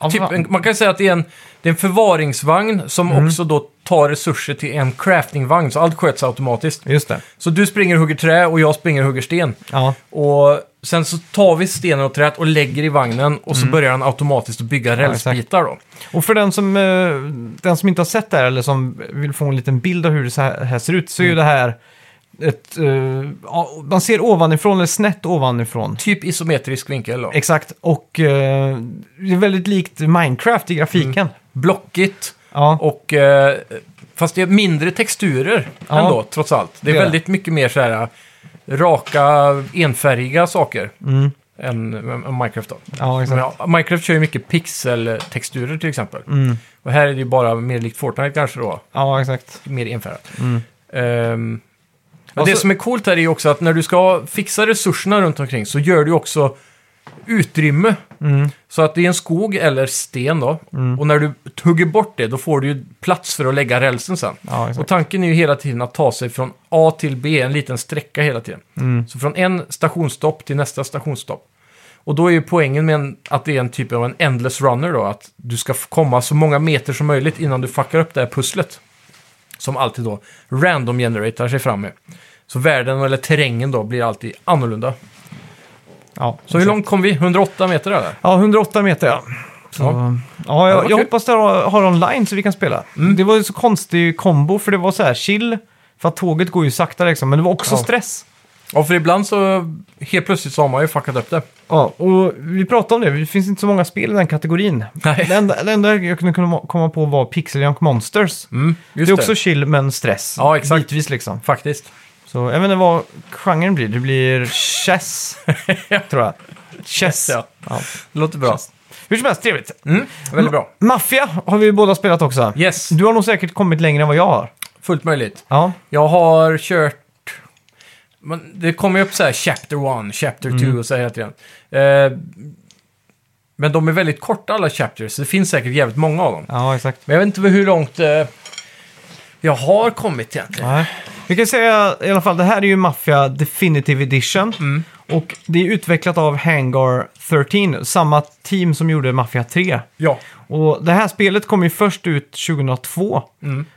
[SPEAKER 1] ja,
[SPEAKER 2] Typ
[SPEAKER 1] fan.
[SPEAKER 2] en, man kan säga att det är en, det är en förvaringsvagn som
[SPEAKER 1] Mm.
[SPEAKER 2] också då tar resurser till en craftingvagn, så allt sköts automatiskt.
[SPEAKER 1] Just det.
[SPEAKER 2] Så du springer och hugger trä och jag springer och hugger sten.
[SPEAKER 1] Ja.
[SPEAKER 2] Och sen så tar vi stenen och träet och lägger i vagnen och så börjar den automatiskt att bygga
[SPEAKER 1] Mm. exakt.
[SPEAKER 2] rälsbitar då.
[SPEAKER 1] Och för den som, eh, den som inte har sett det här eller som vill få en liten bild av hur det så här, här ser ut så
[SPEAKER 2] Mm.
[SPEAKER 1] är ju det här ett... eh, ja, man ser ovanifrån, eller snett ovanifrån.
[SPEAKER 2] Typ isometrisk vinkel då.
[SPEAKER 1] Exakt, och eh, det är väldigt likt Minecraft i grafiken.
[SPEAKER 2] Mm. Blockigt
[SPEAKER 1] Ja,
[SPEAKER 2] och... Eh, fast det är mindre texturer
[SPEAKER 1] Ja.
[SPEAKER 2] ändå, trots allt. Det är
[SPEAKER 1] Det är det.
[SPEAKER 2] väldigt mycket mer så här eh, raka, enfärgiga saker
[SPEAKER 1] mm,
[SPEAKER 2] än, än Minecraft då.
[SPEAKER 1] ja exakt.
[SPEAKER 2] Ja, Minecraft kör ju mycket pixeltexturer till exempel.
[SPEAKER 1] Mm,
[SPEAKER 2] Och här är det ju bara mer likt Fortnite kanske då.
[SPEAKER 1] ja, exakt.
[SPEAKER 2] Mer enfärgat.
[SPEAKER 1] Mm.
[SPEAKER 2] Ehm, men
[SPEAKER 1] Alltså-
[SPEAKER 2] det som är coolt här är ju också att när du ska fixa resurserna runt omkring så gör du också utrymme.
[SPEAKER 1] Mm,
[SPEAKER 2] Så att det är en skog eller sten då. Och när du hugger bort det då får du ju plats för att lägga rälsen sen.
[SPEAKER 1] ja,
[SPEAKER 2] Och
[SPEAKER 1] exakt.
[SPEAKER 2] tanken är ju hela tiden att ta sig från A till B, en liten sträcka hela tiden.
[SPEAKER 1] Mm.
[SPEAKER 2] Så från en stationsstopp till nästa stationsstopp. Och då är ju poängen med en, att det är en typ av en endless runner då, att du ska f- komma så många meter som möjligt innan du fuckar upp det här pusslet. Som alltid då random generatar sig fram med. Så världen eller terrängen då blir alltid annorlunda.
[SPEAKER 1] Ja,
[SPEAKER 2] Så hur långt kom vi? 108 meter eller?
[SPEAKER 1] Ja, 108 meter ja. Så, ja.
[SPEAKER 2] Ja.
[SPEAKER 1] jag,
[SPEAKER 2] var
[SPEAKER 1] jag
[SPEAKER 2] kul. Mm.
[SPEAKER 1] hoppas det har, har online så vi kan spela. Det var ju så konstig kombo för det var så här chill, för att tåget går ju sakta liksom, men det var också
[SPEAKER 2] Ja.
[SPEAKER 1] stress.
[SPEAKER 2] Ja, för ibland så helt plötsligt så har man ju fuckat upp det.
[SPEAKER 1] Ja, och vi pratade om det, det finns inte så många spel i den kategorin.
[SPEAKER 2] Nej.
[SPEAKER 1] Det enda, det enda jag kunde komma- komma på var Pixel Junk Monsters.
[SPEAKER 2] Mm,
[SPEAKER 1] det
[SPEAKER 2] just
[SPEAKER 1] är också chill men stress.
[SPEAKER 2] Ja, exakt.
[SPEAKER 1] Bitvis liksom.
[SPEAKER 2] Faktiskt.
[SPEAKER 1] Så jag vet inte vad genren blir, det blir chess, tror jag. Chess.
[SPEAKER 2] Ja.
[SPEAKER 1] Ja.
[SPEAKER 2] Det låter bra.
[SPEAKER 1] Hur som helst, trevligt.
[SPEAKER 2] Mm, väldigt bra.
[SPEAKER 1] Maffia har vi båda spelat också.
[SPEAKER 2] Yes,
[SPEAKER 1] Du har nog säkert kommit längre än vad jag har.
[SPEAKER 2] fullt möjligt.
[SPEAKER 1] Ja,
[SPEAKER 2] Jag har kört... Men det kommer ju upp så här Chapter 1, Chapter 2
[SPEAKER 1] Mm.
[SPEAKER 2] och så här hela tiden. Eh, men de är väldigt korta alla chapters, så det finns säkert jävligt många av dem.
[SPEAKER 1] ja exakt.
[SPEAKER 2] Men jag vet inte hur långt eh, jag har kommit egentligen.
[SPEAKER 1] Nej. Vi kan säga i alla fall, det här är ju Mafia Definitive Edition. Och det är utvecklat av Hangar 13, samma team som gjorde Mafia 3.
[SPEAKER 2] Ja,
[SPEAKER 1] Och det här spelet kom ju först ut 2002.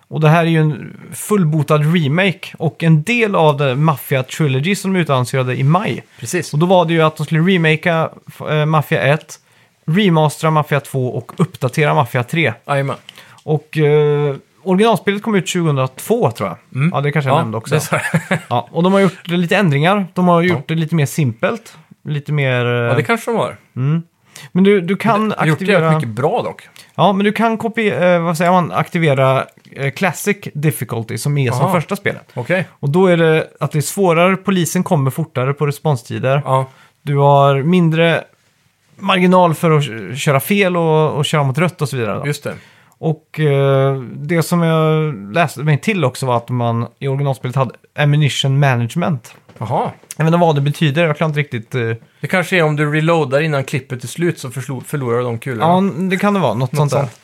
[SPEAKER 1] Och det här är ju en fullbotad remake och en del av det Mafia Trilogy som de utannonserade i maj.
[SPEAKER 2] precis.
[SPEAKER 1] Och då var det ju att de skulle remakea eh, Mafia 1, remastera Mafia 2 och uppdatera Mafia 3.
[SPEAKER 2] Jajamän.
[SPEAKER 1] Och eh, originalspelet kom ut 2002 tror jag. Ja, det kanske jag nämnde också.
[SPEAKER 2] Mm. Det sa jag.
[SPEAKER 1] Ja, och de har gjort lite ändringar. De har gjort det lite mer simpelt. Lite mer... eh,
[SPEAKER 2] Ja, det kanske de har.
[SPEAKER 1] Men du, du kan
[SPEAKER 2] De har Gjort det jävligt
[SPEAKER 1] aktivera...
[SPEAKER 2] mycket bra dock.
[SPEAKER 1] Ja, men du kan kopiera, vad säger man, aktivera eh, Classic Difficulty som är som
[SPEAKER 2] Aha.
[SPEAKER 1] första spelet.
[SPEAKER 2] Okej.
[SPEAKER 1] Och då är det att det är svårare, polisen kommer fortare på responstider.
[SPEAKER 2] Ja.
[SPEAKER 1] Du har mindre marginal för att kö- köra fel och, och köra mot rött och så vidare. Då.
[SPEAKER 2] Just det.
[SPEAKER 1] Och eh, det som jag läste mig till också var att man i originalspelet hade ammunition management.
[SPEAKER 2] Jaha.
[SPEAKER 1] Jag vet inte vad det betyder, jag kan inte riktigt... Eh,
[SPEAKER 2] Det kanske är om du reloadar innan klippet är slut så förlo- förlorar du de kulorna.
[SPEAKER 1] ja, n- det kan det vara, något, sånt där.
[SPEAKER 2] sånt.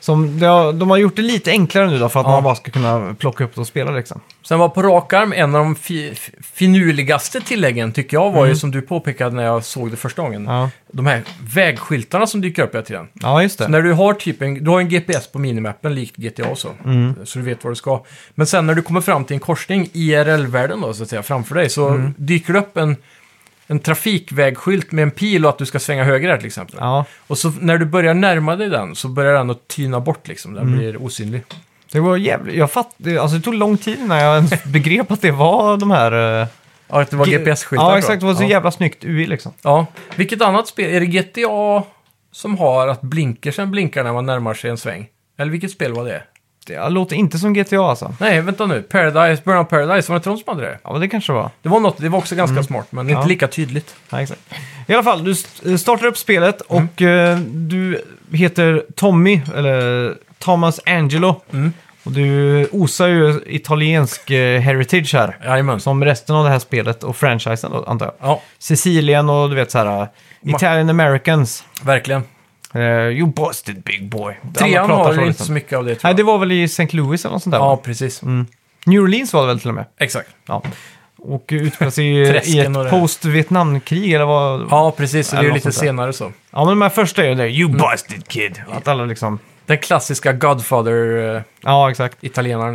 [SPEAKER 1] Som det har, de har gjort det lite enklare nu då för att
[SPEAKER 2] Ja.
[SPEAKER 1] man bara ska kunna plocka upp det och spela liksom.
[SPEAKER 2] Sen var på rak arm en av de fi finurligaste tilläggen tycker jag var
[SPEAKER 1] Mm.
[SPEAKER 2] ju som du påpekade när jag såg det första gången.
[SPEAKER 1] Ja,
[SPEAKER 2] De här vägskyltarna som dyker upp hela tiden.
[SPEAKER 1] ja just
[SPEAKER 2] Så
[SPEAKER 1] det.
[SPEAKER 2] när du har typ en, du har en GPS på minimappen likt GTA och så.
[SPEAKER 1] Mm.
[SPEAKER 2] Så du vet var du ska. Men sen när du kommer fram till en korsning, IRL-världen då så att säga, framför dig. Så
[SPEAKER 1] Mm.
[SPEAKER 2] dyker det upp en, en trafikvägskylt med en pil och att du ska svänga höger här till exempel.
[SPEAKER 1] Ja,
[SPEAKER 2] Och så när du börjar närma dig den så börjar den att tyna bort liksom.
[SPEAKER 1] Mm.
[SPEAKER 2] Den blir osynlig.
[SPEAKER 1] det var jävligt... Jag fatt, det- alltså det tog lång tid innan jag ens begrep att det var de här... eh,
[SPEAKER 2] Ja, att det var
[SPEAKER 1] ge-
[SPEAKER 2] GPS-skyltar.
[SPEAKER 1] Ja,
[SPEAKER 2] tror jag.
[SPEAKER 1] exakt. Det var så
[SPEAKER 2] Ja.
[SPEAKER 1] jävla snyggt UI liksom.
[SPEAKER 2] Ja, vilket annat spel? Är det GTA som har att blinkersen blinkar när man närmar sig en sväng? Eller vilket spel var det?
[SPEAKER 1] Det låter inte som GTA alltså.
[SPEAKER 2] Nej, vänta nu. Paradise, Burnout Paradise, var det inte de som hade det?
[SPEAKER 1] Ja, men det kanske det var.
[SPEAKER 2] Det var något, det var också ganska smart, men
[SPEAKER 1] Mm. Ja.
[SPEAKER 2] inte lika tydligt.
[SPEAKER 1] Ja, exakt. I alla fall, du st- eh, startar upp spelet och eh, du heter Tommy, eller Thomas Angelo. Och du osar ju italiensk eh, heritage här.
[SPEAKER 2] Jajamän.
[SPEAKER 1] Som resten av det här spelet och franchisen då, antar jag.
[SPEAKER 2] Ja,
[SPEAKER 1] Sicilien och du vet så här, eh, Italian Americans.
[SPEAKER 2] verkligen.
[SPEAKER 1] Eh, you busted big boy.
[SPEAKER 2] Trean
[SPEAKER 1] Alla pratar
[SPEAKER 2] har
[SPEAKER 1] så,
[SPEAKER 2] inte
[SPEAKER 1] liksom.
[SPEAKER 2] så mycket av det tror
[SPEAKER 1] Nej,
[SPEAKER 2] jag.
[SPEAKER 1] det Mm. var väl i St. Louis eller något sånt där?
[SPEAKER 2] Ja,
[SPEAKER 1] va?
[SPEAKER 2] precis.
[SPEAKER 1] New Orleans var det väl till och med?
[SPEAKER 2] Exakt.
[SPEAKER 1] Ja. Och utspelar sig ju i
[SPEAKER 2] Träsken och
[SPEAKER 1] ett
[SPEAKER 2] det.
[SPEAKER 1] post-Vietnamkrig eller vad,
[SPEAKER 2] Ja, precis. Så det är ju
[SPEAKER 1] Eller något
[SPEAKER 2] lite
[SPEAKER 1] sånt där.
[SPEAKER 2] senare så.
[SPEAKER 1] Ja, men de här första är ju det. You
[SPEAKER 2] Mm.
[SPEAKER 1] busted kid. Att alla liksom...
[SPEAKER 2] Den klassiska Godfather-italienaren
[SPEAKER 1] Ja, exakt.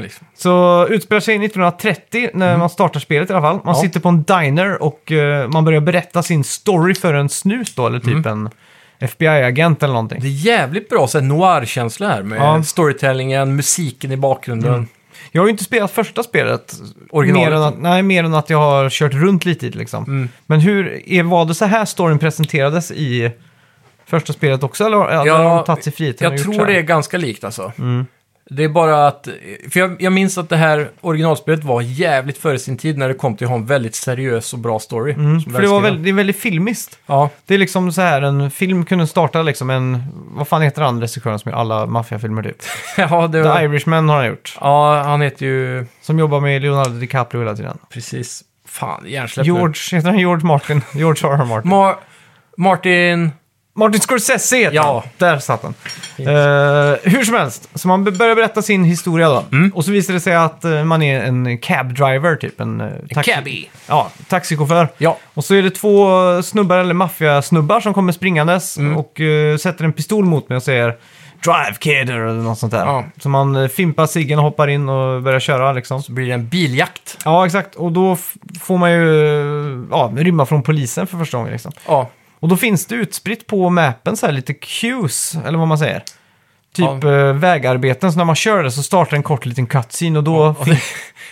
[SPEAKER 2] liksom.
[SPEAKER 1] Så utspelar sig 1930 när man startar spelet i alla fall. Man
[SPEAKER 2] Mm. Ja.
[SPEAKER 1] sitter på en diner och eh, man börjar berätta sin story för en snut då, eller typ en FBI-agent eller någonting.
[SPEAKER 2] Mm. Det är jävligt bra så här noir-känsla här med
[SPEAKER 1] Ja.
[SPEAKER 2] storytellingen, musiken i bakgrunden.
[SPEAKER 1] Jag har ju inte spelat första spelet.
[SPEAKER 2] Originalet. Mm.
[SPEAKER 1] Mer än att, nej, mer än att jag har kört runt lite i det liksom. Men hur, är, var det så här storyn presenterades i första spelet också? Eller, eller har de tagit sig friheten och
[SPEAKER 2] jag
[SPEAKER 1] gjort
[SPEAKER 2] tror
[SPEAKER 1] så här? Mm.
[SPEAKER 2] det är ganska likt alltså. Det är bara att, för jag, jag minns att det här originalspelet var jävligt före sin tid när det kom till att ha en väldigt seriös och bra story.
[SPEAKER 1] Mm,
[SPEAKER 2] som
[SPEAKER 1] för det, var
[SPEAKER 2] välskriven.
[SPEAKER 1] väldigt, det är väldigt filmiskt.
[SPEAKER 2] Ja,
[SPEAKER 1] Det är liksom så här, en film kunde starta liksom en, vad fan heter han regissören som gör alla maffiafilmer typ?
[SPEAKER 2] ja, det
[SPEAKER 1] The
[SPEAKER 2] var,
[SPEAKER 1] Irishman har han gjort.
[SPEAKER 2] ja, han heter ju,
[SPEAKER 1] Som jobbar med Leonardo DiCaprio hela tiden.
[SPEAKER 2] precis, fan, hjärnsläpp nu.
[SPEAKER 1] George, heter han George Martin? George R. R. Martin.
[SPEAKER 2] Ma- Martin,
[SPEAKER 1] Martin Scorsese heter
[SPEAKER 2] Ja.
[SPEAKER 1] han. Där satt han. Eh, hur som helst, så man be- börjar berätta sin historia då.
[SPEAKER 2] Mm.
[SPEAKER 1] Och så visar det sig att eh, man är en cab driver typ. En, eh, taxi-
[SPEAKER 2] Cabby.
[SPEAKER 1] Ja, taxichaufför.
[SPEAKER 2] Ja,
[SPEAKER 1] Och så är det två
[SPEAKER 2] Mm.
[SPEAKER 1] snubbar, eller maffiasnubbar, som kommer springandes och eh, sätter en pistol mot mig och säger Drive Kid eller något sånt där.
[SPEAKER 2] Ja.
[SPEAKER 1] Så man eh, fimpar ciggen, hoppar in och börjar köra liksom.
[SPEAKER 2] Så blir det en biljakt.
[SPEAKER 1] Ja, exakt. Och då f- får man ju eh, ja, rymma från polisen för första gången liksom.
[SPEAKER 2] Ja,
[SPEAKER 1] Och då finns det utspritt på mappen så här lite cues, eller vad man säger. Typ eh, vägarbeten, så när man kör det så startar en kort liten cutscene och då... Ja,
[SPEAKER 2] det,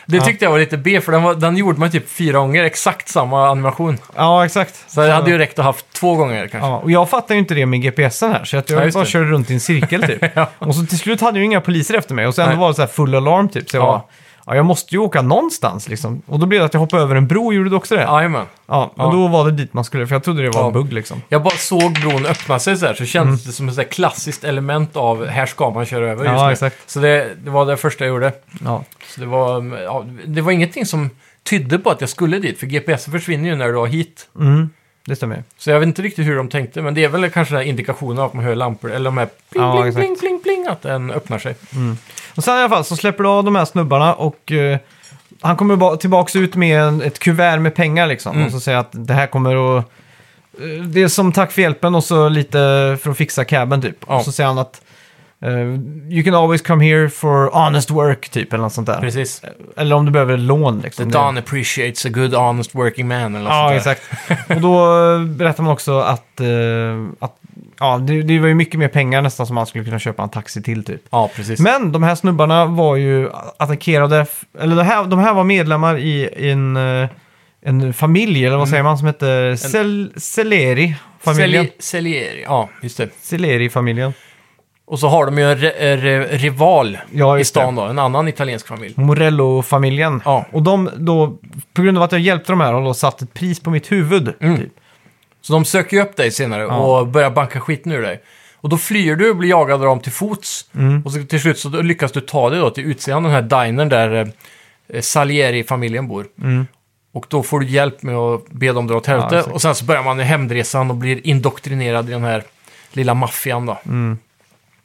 [SPEAKER 2] det tyckte jag var lite B, för den, var, den gjorde man typ fyra gånger exakt samma animation.
[SPEAKER 1] exakt.
[SPEAKER 2] Så det hade ju räckt att haft två gånger kanske.
[SPEAKER 1] Ja, och jag fattar ju inte det med GPSen här, så att
[SPEAKER 2] Ja,
[SPEAKER 1] jag
[SPEAKER 2] just
[SPEAKER 1] bara
[SPEAKER 2] det.
[SPEAKER 1] körde runt i en cirkel typ. Och så till slut hade ju inga poliser efter mig och sen
[SPEAKER 2] Nej.
[SPEAKER 1] var det så här full alarm typ. Så jag
[SPEAKER 2] Ja.
[SPEAKER 1] bara, ja, jag måste ju åka någonstans liksom. Och då blev det att jag hoppade över en bro, gjorde du också det?
[SPEAKER 2] Jajamän.
[SPEAKER 1] Ja, och
[SPEAKER 2] Ja.
[SPEAKER 1] då var det dit man skulle, för jag trodde det var
[SPEAKER 2] Ja.
[SPEAKER 1] en bugg liksom.
[SPEAKER 2] Jag bara såg bron öppna sig så här, så kändes
[SPEAKER 1] Mm.
[SPEAKER 2] det som ett så här klassiskt element av här ska man köra över just
[SPEAKER 1] Ja,
[SPEAKER 2] nu.
[SPEAKER 1] exakt.
[SPEAKER 2] Så det, det var det första jag gjorde.
[SPEAKER 1] Ja.
[SPEAKER 2] Så det, var, mm, ja, det var ingenting som tydde på att jag skulle dit, för GPS försvinner ju när du har hit.
[SPEAKER 1] Mm, det stämmer ju.
[SPEAKER 2] Så jag vet inte riktigt hur de tänkte, men det är väl kanske den här indikationen av att man hör lampor, eller de här pling,
[SPEAKER 1] Ja,
[SPEAKER 2] pling,
[SPEAKER 1] exakt.
[SPEAKER 2] pling, pling, pling, att den öppnar sig.
[SPEAKER 1] Och sen i alla fall så släpper du av de här snubbarna och eh, han kommer ba- tillbaks ut med en, ett kuvert med pengar liksom.
[SPEAKER 2] Mm.
[SPEAKER 1] Och så säger att det här kommer att... eh, Det är som tack för hjälpen och så lite för att fixa cabben typ.
[SPEAKER 2] Ja.
[SPEAKER 1] Och så säger han att eh, you can always come here for honest work typ eller något sånt där.
[SPEAKER 2] Precis.
[SPEAKER 1] Eller om du behöver lån
[SPEAKER 2] The
[SPEAKER 1] liksom.
[SPEAKER 2] Don appreciates a good honest working man eller något sånt
[SPEAKER 1] Ja,
[SPEAKER 2] där.
[SPEAKER 1] exakt. Och då eh, berättar man också att, eh, att ja, det, det var ju mycket mer pengar nästan som man skulle kunna köpa en taxi till typ.
[SPEAKER 2] Ja, precis.
[SPEAKER 1] Men de här snubbarna var ju attackerade, f- eller det här, de här var medlemmar i en, eh, en familj,
[SPEAKER 2] Mm.
[SPEAKER 1] eller vad säger man, som hette Cel, Celeri-familjen.
[SPEAKER 2] Celi- Celieri, ja, just det.
[SPEAKER 1] Celeri-familjen.
[SPEAKER 2] Och så har de ju en re- en re- rival
[SPEAKER 1] Ja,
[SPEAKER 2] i
[SPEAKER 1] just det.
[SPEAKER 2] stan då, en annan italiensk familj.
[SPEAKER 1] Morello-familjen.
[SPEAKER 2] Ja.
[SPEAKER 1] Och de då, på grund av att jag hjälpte de här, har de satt ett pris på mitt huvud.
[SPEAKER 2] Mm.
[SPEAKER 1] Typ.
[SPEAKER 2] Så de söker ju upp dig senare
[SPEAKER 1] Ja.
[SPEAKER 2] och börjar banka skiten ur dig. Och då flyr du och blir jagad av dem till fots.
[SPEAKER 1] Mm.
[SPEAKER 2] Och så till slut så lyckas du ta dig då till utsidan den här dinern där eh, Salieri-familjen bor. Och då får du hjälp med att be dem dra åt helvete.
[SPEAKER 1] Mm. exakt.
[SPEAKER 2] och sen så börjar man i hämndresan och blir indoktrinerad i den här lilla maffian då.
[SPEAKER 1] Mm.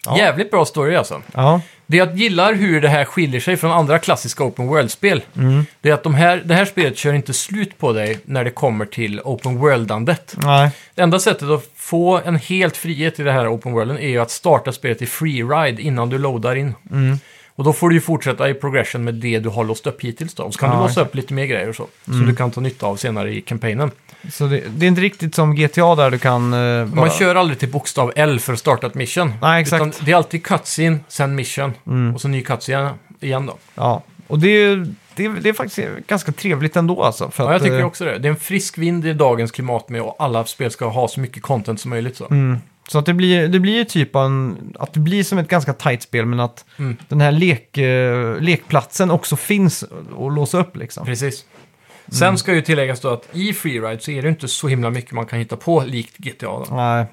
[SPEAKER 1] Ja.
[SPEAKER 2] Jävligt bra story alltså.
[SPEAKER 1] Ja.
[SPEAKER 2] Det jag gillar hur det här skiljer sig från andra klassiska Open World-spel,
[SPEAKER 1] Mm.
[SPEAKER 2] det är att de här, det här spelet kör inte slut på dig när det kommer till Open World-andet.
[SPEAKER 1] Nej.
[SPEAKER 2] Det enda sättet att få en helt frihet i det här Open Worlden är ju att starta spelet i Free Ride innan du loadar in.
[SPEAKER 1] Mm.
[SPEAKER 2] Och då får du ju fortsätta i progression med det du har låst upp hittills då. Och så kan
[SPEAKER 1] Ja, Mm.
[SPEAKER 2] du låsa upp lite mer grejer och så. Som du kan ta nytta av senare i kampanjen.
[SPEAKER 1] Så det, det är inte riktigt som GTA där du kan... eh, bara-
[SPEAKER 2] Man kör aldrig till bokstav L för att starta ett mission.
[SPEAKER 1] Nej, exakt. Mm.
[SPEAKER 2] Utan det är alltid cutscene, sen mission. Och så ny cutscene igen då.
[SPEAKER 1] Ja. Och det är, det, är- det är faktiskt ganska trevligt ändå alltså. För
[SPEAKER 2] Ja, jag
[SPEAKER 1] att,
[SPEAKER 2] tycker
[SPEAKER 1] eh,
[SPEAKER 2] också det. Det är en frisk vind i dagens klimat med och alla spel ska ha så mycket content som möjligt. Så.
[SPEAKER 1] Så att det blir, det blir ju typ av en, att det blir som ett ganska tajt spel men att
[SPEAKER 2] Mm.
[SPEAKER 1] den här lek, eh, lekplatsen också finns att låsa upp liksom.
[SPEAKER 2] Precis.
[SPEAKER 1] Mm.
[SPEAKER 2] Sen ska ju tilläggas då att i Freeride så är det inte så himla mycket man kan hitta på likt GTA. Då.
[SPEAKER 1] Nej,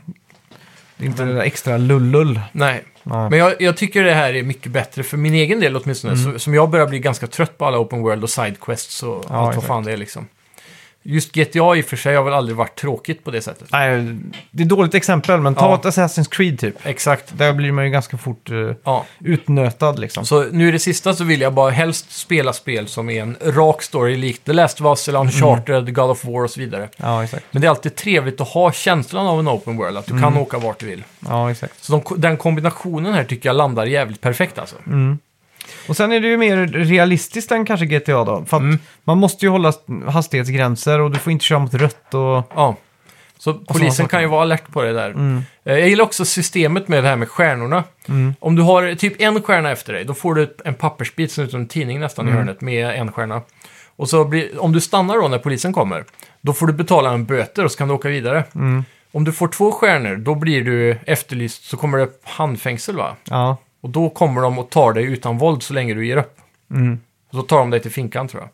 [SPEAKER 1] det är inte det där extra lullull.
[SPEAKER 2] Nej,
[SPEAKER 1] Nej.
[SPEAKER 2] men jag, jag tycker det här är mycket bättre för min egen del åtminstone.
[SPEAKER 1] Mm.
[SPEAKER 2] Så, som jag börjar bli ganska trött på alla Open World och Sidequests och allt vad
[SPEAKER 1] exakt.
[SPEAKER 2] fan det är liksom. Just GTA i och för sig har väl aldrig varit tråkigt på det sättet.
[SPEAKER 1] Nej, det är ett dåligt exempel men ta
[SPEAKER 2] Ja.
[SPEAKER 1] ett Assassin's Creed typ.
[SPEAKER 2] Exakt.
[SPEAKER 1] Där blir man ju ganska fort eh,
[SPEAKER 2] Ja.
[SPEAKER 1] utnötad liksom.
[SPEAKER 2] Så nu i det sista så vill jag bara helst spela spel som är en rak story likt The Last of Us eller Uncharted,
[SPEAKER 1] Mm.
[SPEAKER 2] God of War och så vidare.
[SPEAKER 1] Ja, exakt.
[SPEAKER 2] Men det är alltid trevligt att ha känslan av en open world, att
[SPEAKER 1] Mm.
[SPEAKER 2] du kan åka vart du vill.
[SPEAKER 1] Ja, exakt.
[SPEAKER 2] Så de, den kombinationen här tycker jag landar jävligt perfekt alltså.
[SPEAKER 1] Och sen är det ju mer realistiskt än kanske GTA då. För att
[SPEAKER 2] Mm.
[SPEAKER 1] man måste ju hålla hastighetsgränser och du får inte köra mot rött och...
[SPEAKER 2] Ja. Så polisen
[SPEAKER 1] saker.
[SPEAKER 2] kan ju vara alert på det där. Eh, Jag gillar också systemet med det här med stjärnorna. Om du har typ en stjärna efter dig, då får du en pappersbit som ser ut som en tidning nästan i hörnet med en stjärna. Och så blir, om du stannar då när polisen kommer, då får du betala en böter och så kan du åka vidare. Om du får två stjärnor, då blir du efterlyst, så kommer det upp handfängsel va?
[SPEAKER 1] Ja,
[SPEAKER 2] Och då kommer de och tar dig utan våld så länge du ger upp.
[SPEAKER 1] Mm.
[SPEAKER 2] Och så tar de dig till finkan tror jag.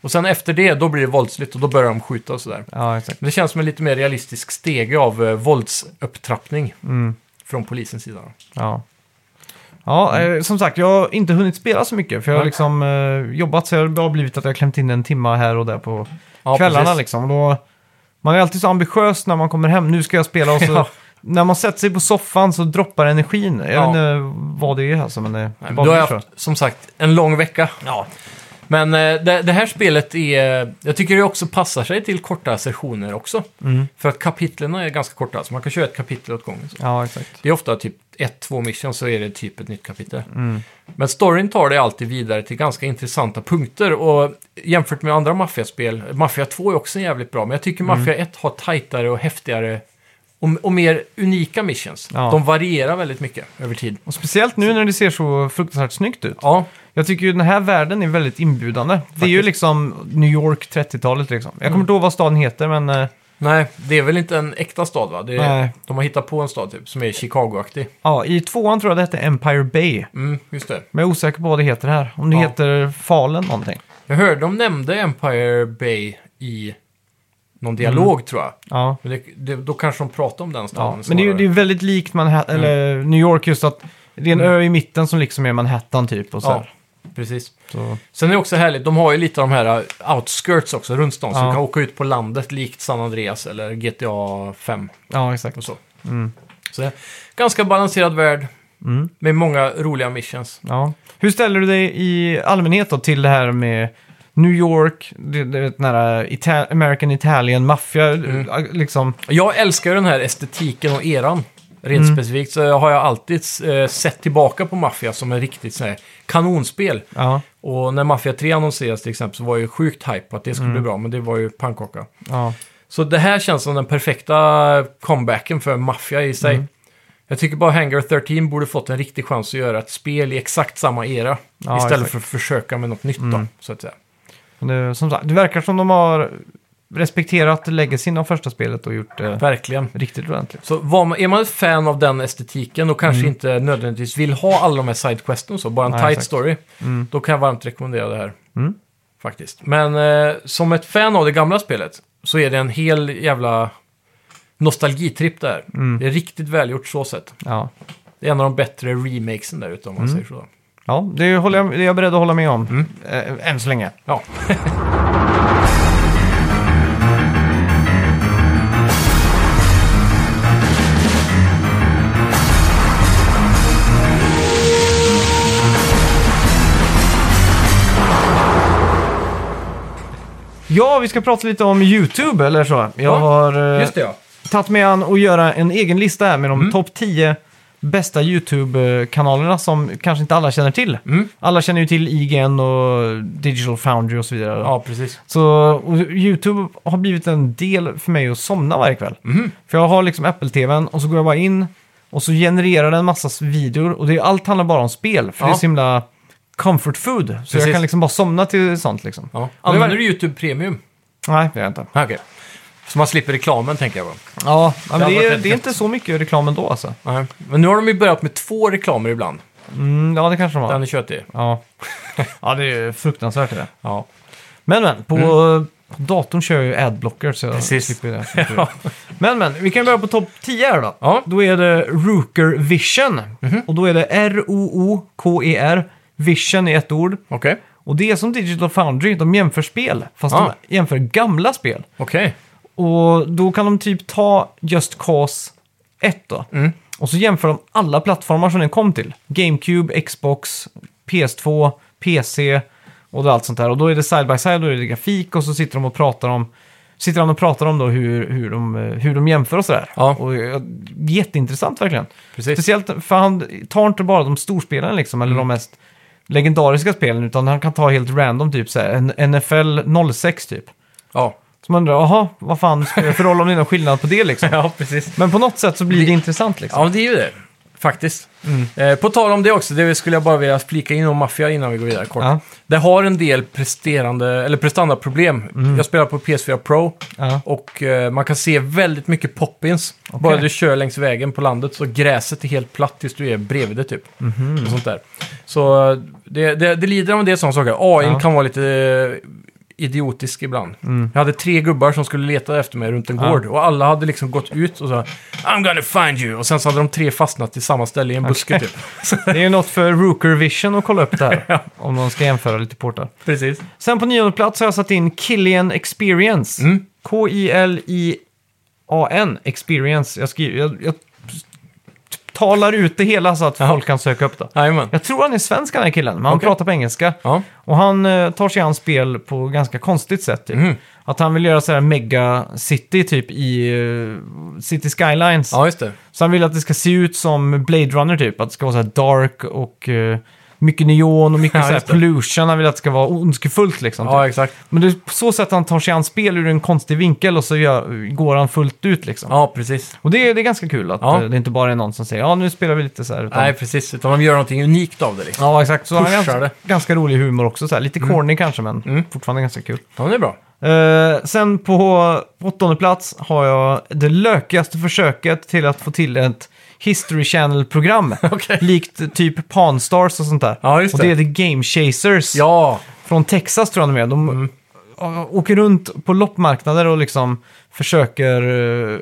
[SPEAKER 2] Och sen efter det, då blir det våldsligt och då börjar de skjuta och sådär.
[SPEAKER 1] ja exakt.
[SPEAKER 2] Men det känns som en lite mer realistisk stege av eh, våldsupptrappning
[SPEAKER 1] Mm.
[SPEAKER 2] från polisens sida. då.
[SPEAKER 1] Ja. Ja,
[SPEAKER 2] Mm.
[SPEAKER 1] eh, som sagt, jag har inte hunnit spela så mycket för jag har liksom eh, jobbat så det har blivit att jag har klämt in en timma här och där på
[SPEAKER 2] Ja,
[SPEAKER 1] kvällarna
[SPEAKER 2] precis.
[SPEAKER 1] liksom. Och Då, man är alltid så ambitiös när man kommer hem, nu ska jag spela och så
[SPEAKER 2] Ja.
[SPEAKER 1] när man sätter sig på soffan så droppar energin. Jag
[SPEAKER 2] Ja.
[SPEAKER 1] vet inte vad det är alltså, men det,
[SPEAKER 2] Nej,
[SPEAKER 1] det
[SPEAKER 2] men du har
[SPEAKER 1] bara
[SPEAKER 2] jag
[SPEAKER 1] blir så.
[SPEAKER 2] haft, som sagt, en lång vecka.
[SPEAKER 1] Ja.
[SPEAKER 2] Men eh, det, det här spelet är... eh, Jag tycker det också passar sig till korta
[SPEAKER 1] Mm.
[SPEAKER 2] sessioner också. För att kapitlerna är ganska korta, så man kan köra ett kapitel åt gången. Så.
[SPEAKER 1] ja, exakt.
[SPEAKER 2] Det är ofta typ ett, två missions så är det typ ett nytt kapitel.
[SPEAKER 1] Mm.
[SPEAKER 2] Men storyn tar dig alltid vidare till ganska intressanta punkter. Och jämfört med andra maffiaspel, Mafia 2 är också jävligt bra, men jag tycker
[SPEAKER 1] Mm.
[SPEAKER 2] Mafia 1 har tajtare och häftigare och, och mer unika missions.
[SPEAKER 1] Ja.
[SPEAKER 2] De varierar väldigt mycket över tid.
[SPEAKER 1] Och speciellt nu när det ser så fruktansvärt snyggt ut.
[SPEAKER 2] Ja,
[SPEAKER 1] Jag tycker ju den här världen är väldigt inbjudande. Det är ju
[SPEAKER 2] Faktiskt. Mm.
[SPEAKER 1] liksom New York 30-talet liksom. Jag kommer inte ihåg vad staden heter, men... eh,
[SPEAKER 2] nej, det är väl inte en äkta stad va? Det är,
[SPEAKER 1] Nej.
[SPEAKER 2] De har hittat på en stad typ, som är Chicago-aktig.
[SPEAKER 1] Ja, i tvåan tror jag det hette Empire Bay.
[SPEAKER 2] Mm, just det.
[SPEAKER 1] Men jag är osäker på vad det heter här. Om det
[SPEAKER 2] Ja.
[SPEAKER 1] heter Falen någonting.
[SPEAKER 2] Jag hörde de nämnde Empire Bay i någon dialog
[SPEAKER 1] Mm.
[SPEAKER 2] tror jag.
[SPEAKER 1] Ja.
[SPEAKER 2] Men det, det, då kanske de pratar om den
[SPEAKER 1] ja.
[SPEAKER 2] staden.
[SPEAKER 1] Men det är ju
[SPEAKER 2] snarare.
[SPEAKER 1] det Mm. är väldigt likt Manhattan, eller New York just att det är en ö i mitten som liksom är Manhattan typ och så,
[SPEAKER 2] Ja,
[SPEAKER 1] här.
[SPEAKER 2] precis.
[SPEAKER 1] så.
[SPEAKER 2] Sen är det också härligt, de har ju lite av de här uh, outskirts också runt stan. Så
[SPEAKER 1] Ja.
[SPEAKER 2] du kan åka ut på landet likt San Andreas eller GTA 5
[SPEAKER 1] Ja, exakt.
[SPEAKER 2] och så. Så det är ganska balanserad värld
[SPEAKER 1] Mm.
[SPEAKER 2] med många roliga missions.
[SPEAKER 1] Ja. Hur ställer du dig i allmänhet då till det här med New York, det, det, vet, den här Ita- American Italian maffia, liksom.
[SPEAKER 2] Jag älskar ju den här estetiken och eran. Rent
[SPEAKER 1] Mm.
[SPEAKER 2] specifikt så har jag alltid eh, sett tillbaka på Mafia som en riktigt sån här kanonspel.
[SPEAKER 1] Ja,
[SPEAKER 2] Och när Mafia 3 annonserades till exempel så var jag ju sjukt hype på att det skulle
[SPEAKER 1] Mm.
[SPEAKER 2] bli bra, men det var ju pannkaka.
[SPEAKER 1] ja.
[SPEAKER 2] Så det här känns som den perfekta comebacken för Mafia i sig.
[SPEAKER 1] Mm.
[SPEAKER 2] Jag tycker bara Hangar 13 borde fått en riktig chans att göra ett spel i exakt samma era.
[SPEAKER 1] Ja,
[SPEAKER 2] istället
[SPEAKER 1] exakt. Mm.
[SPEAKER 2] för att försöka med något nytt då, så att säga.
[SPEAKER 1] Men Det, som sagt, det verkar som de har respekterat legacyn av första spelet och gjort det
[SPEAKER 2] Verkligen.
[SPEAKER 1] riktigt ordentligt.
[SPEAKER 2] Så var man, är man ett fan av den estetiken och kanske inte nödvändigtvis vill ha alla de här sidequesten och så, bara en
[SPEAKER 1] Mm. Nej,
[SPEAKER 2] tight
[SPEAKER 1] exakt.
[SPEAKER 2] story,
[SPEAKER 1] Mm.
[SPEAKER 2] då kan jag varmt rekommendera det här.
[SPEAKER 1] Mm.
[SPEAKER 2] Faktiskt. Men eh, som ett fan av det gamla spelet så är det en hel jävla nostalgitripp där.
[SPEAKER 1] Mm.
[SPEAKER 2] Det är riktigt välgjort så sett.
[SPEAKER 1] Ja.
[SPEAKER 2] Det är en av de bättre remakesen där ute om man säger så.
[SPEAKER 1] Ja, det, håller jag, det är jag beredd att hålla med om. Äh, än så länge.
[SPEAKER 2] Mm. Ja.
[SPEAKER 1] Ja, vi ska prata lite om YouTube eller så. Jag
[SPEAKER 2] Ja,
[SPEAKER 1] har eh,
[SPEAKER 2] Just det ja.
[SPEAKER 1] tagit mig an och göra en egen lista här med de
[SPEAKER 2] Mm.
[SPEAKER 1] topp 10 bästa YouTube-kanalerna som kanske inte alla känner till.
[SPEAKER 2] Mm.
[SPEAKER 1] Alla känner ju till IGN och Digital Foundry och så vidare.
[SPEAKER 2] Ja, precis.
[SPEAKER 1] Så och YouTube har blivit en del för mig att somna varje kväll.
[SPEAKER 2] Mhm.
[SPEAKER 1] För jag har liksom Apple-TVn och så går jag bara in och så genererar den massa videor. Och det, är- allt handlar bara om spel, för det är
[SPEAKER 2] Ja.
[SPEAKER 1] så himla comfort food. Så jag
[SPEAKER 2] Precis.
[SPEAKER 1] kan liksom bara somna till sånt liksom.
[SPEAKER 2] Ja.
[SPEAKER 1] Och det var-
[SPEAKER 2] Använder du YouTube Premium?
[SPEAKER 1] Nej, det gör jag inte.
[SPEAKER 2] Ah, Okej. Så man slipper reklamen tänker jag bara.
[SPEAKER 1] Ja, men
[SPEAKER 2] Det
[SPEAKER 1] det,
[SPEAKER 2] hade varit
[SPEAKER 1] är,
[SPEAKER 2] väldigt
[SPEAKER 1] det är
[SPEAKER 2] gött.
[SPEAKER 1] inte så mycket reklam ändå alltså.
[SPEAKER 2] Nej. Men nu har de ju börjat med två reklamer ibland.
[SPEAKER 1] Mm, ja, det kanske de har.
[SPEAKER 2] Den är köttig.
[SPEAKER 1] Ja. ja, det är fruktansvärt det. Mm.
[SPEAKER 2] Ja.
[SPEAKER 1] Men men, på datorn kör jag ju adblocker så jag
[SPEAKER 2] Precis.
[SPEAKER 1] slipper det. Men men, vi kan börja på topp 10 här då.
[SPEAKER 2] Ja.
[SPEAKER 1] Då är det Rooker Vision. Och då är det R-O-O-K-E-R. E Vision i ett ord.
[SPEAKER 2] Okej.
[SPEAKER 1] Och det är som Digital Foundry, de jämför spel, fast
[SPEAKER 2] Ah.
[SPEAKER 1] de jämför gamla spel.
[SPEAKER 2] Okej.
[SPEAKER 1] Och då kan de typ ta Just Cause 1 då.
[SPEAKER 2] Mm.
[SPEAKER 1] Och så jämför de alla plattformar som den kom till. GameCube, Xbox, PS2, PC och allt sånt där. Och då är det side by side, då är det grafik och så sitter de och pratar om Sitter han och pratar om då hur, hur, de, eh, hur de jämför och sådär.
[SPEAKER 2] Ja.
[SPEAKER 1] Och, eh, jätteintressant verkligen.
[SPEAKER 2] Precis. Mm.
[SPEAKER 1] Speciellt för han tar inte bara de storspelen liksom, eller de mest legendariska spelen, utan han kan ta helt random typ så här, en NFL 06 typ.
[SPEAKER 2] Ja.
[SPEAKER 1] Så man undrar, jaha, vad fan spelar det för roll om det är någon skillnad på det liksom?
[SPEAKER 2] ja, precis.
[SPEAKER 1] Men på något sätt så blir det intressant liksom.
[SPEAKER 2] Ja, men det är ju det. Faktiskt. Eh, på tal om det också, det skulle jag bara vilja flika in om Mafia innan vi går vidare kort.
[SPEAKER 1] Ja.
[SPEAKER 2] Det har en del presterande, eller prestandaproblem. Jag spelar på PS4 Pro
[SPEAKER 1] Ja.
[SPEAKER 2] och eh, man kan se väldigt mycket poppins. Bara du kör längs vägen på landet så gräset är helt platt tills du är bredvid det typ. Och sånt där. Så eh, det, det, det lider av en del sådana saker. AI
[SPEAKER 1] Ja.
[SPEAKER 2] kan vara lite eh, idiotisk ibland. Jag hade tre gubbar som skulle leta efter mig runt en
[SPEAKER 1] Ja.
[SPEAKER 2] gård och alla hade liksom gått ut och sa I'm gonna find you! Och sen så hade de tre fastnat i samma ställe i en buske typ.
[SPEAKER 1] Det är ju något för Rooker Vision att kolla upp där. Om de ska jämföra lite portar.
[SPEAKER 2] Precis.
[SPEAKER 1] Sen på nionde plats har jag satt in Killian Experience.
[SPEAKER 2] Mm.
[SPEAKER 1] K-I-L-I-A-N Experience. Jag, skriver, jag, jag talar ut det hela så att folk kan söka upp det.
[SPEAKER 2] Jajamän.
[SPEAKER 1] Jag tror han är svensk den här killen, men han
[SPEAKER 2] Okej.
[SPEAKER 1] pratar på engelska.
[SPEAKER 2] Ja.
[SPEAKER 1] Och han eh, tar sig an spel på ganska konstigt sätt. Typ.
[SPEAKER 2] Mhm.
[SPEAKER 1] Att han vill göra så här mega city typ i eh, City Skylines.
[SPEAKER 2] Ja, just det.
[SPEAKER 1] Så han vill att det ska se ut som Blade Runner typ. Att det ska vara så här dark och eh, mycket neon och mycket
[SPEAKER 2] Ja,
[SPEAKER 1] så här
[SPEAKER 2] just det.
[SPEAKER 1] pollution. Han vill att det ska vara ondskefullt liksom.
[SPEAKER 2] Ja,
[SPEAKER 1] typ.
[SPEAKER 2] exakt.
[SPEAKER 1] Men det är på så sätt han tar sig an spel ur en konstig vinkel och så gör, går han fullt ut liksom.
[SPEAKER 2] Ja, precis.
[SPEAKER 1] Och det, är- det är ganska kul att
[SPEAKER 2] Ja.
[SPEAKER 1] eh, det inte bara är någon som säger ja nu spelar vi lite så här. Utan,
[SPEAKER 2] Nej, precis. Utan de gör någonting unikt av det liksom.
[SPEAKER 1] Ja, exakt. Så han har
[SPEAKER 2] Pushar
[SPEAKER 1] ganska,
[SPEAKER 2] det.
[SPEAKER 1] ganska rolig humor också. Så här. Lite corny kanske, men
[SPEAKER 2] Mm.
[SPEAKER 1] fortfarande ganska kul.
[SPEAKER 2] Ja, det är bra.
[SPEAKER 1] Eh, sen på åttonde plats har jag det lökigaste försöket till att få till ett History Channel-program.
[SPEAKER 2] Okej.
[SPEAKER 1] Likt typ Pawn Stars och sånt där.
[SPEAKER 2] Ja, just
[SPEAKER 1] och det
[SPEAKER 2] det.
[SPEAKER 1] är The Game Chasers
[SPEAKER 2] Ja, Mm.
[SPEAKER 1] från Texas tror jag de är. De eh, åker runt på loppmarknader och liksom försöker eh,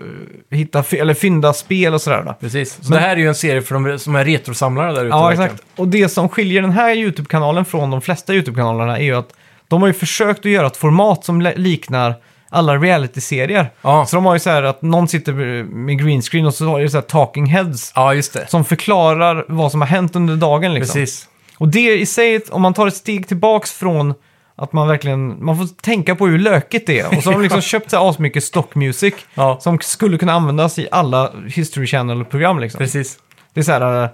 [SPEAKER 1] hitta, fi- eller fynda spel och sådär. Då.
[SPEAKER 2] precis. Så det här är ju en serie för de som är retrosamlare där ute.
[SPEAKER 1] Ja,
[SPEAKER 2] verkligen.
[SPEAKER 1] exakt. Och det som skiljer den här YouTube-kanalen från de flesta YouTube-kanalerna är ju att de har ju försökt att göra ett format som li- liknar alla reality-serier.
[SPEAKER 2] Ja.
[SPEAKER 1] Så de har ju så här att någon sitter med green screen och så har det så här talking heads
[SPEAKER 2] Ja, just det.
[SPEAKER 1] som förklarar vad som har hänt under dagen. Liksom.
[SPEAKER 2] Precis.
[SPEAKER 1] Och det i sig, om man tar ett steg tillbaks från att man verkligen, man får tänka på hur lökigt det är. Och så har de liksom köpt så här asmycket stock music
[SPEAKER 2] Ja.
[SPEAKER 1] som skulle kunna användas i alla History Channel-program. Liksom.
[SPEAKER 2] Precis.
[SPEAKER 1] Det är så här... eh,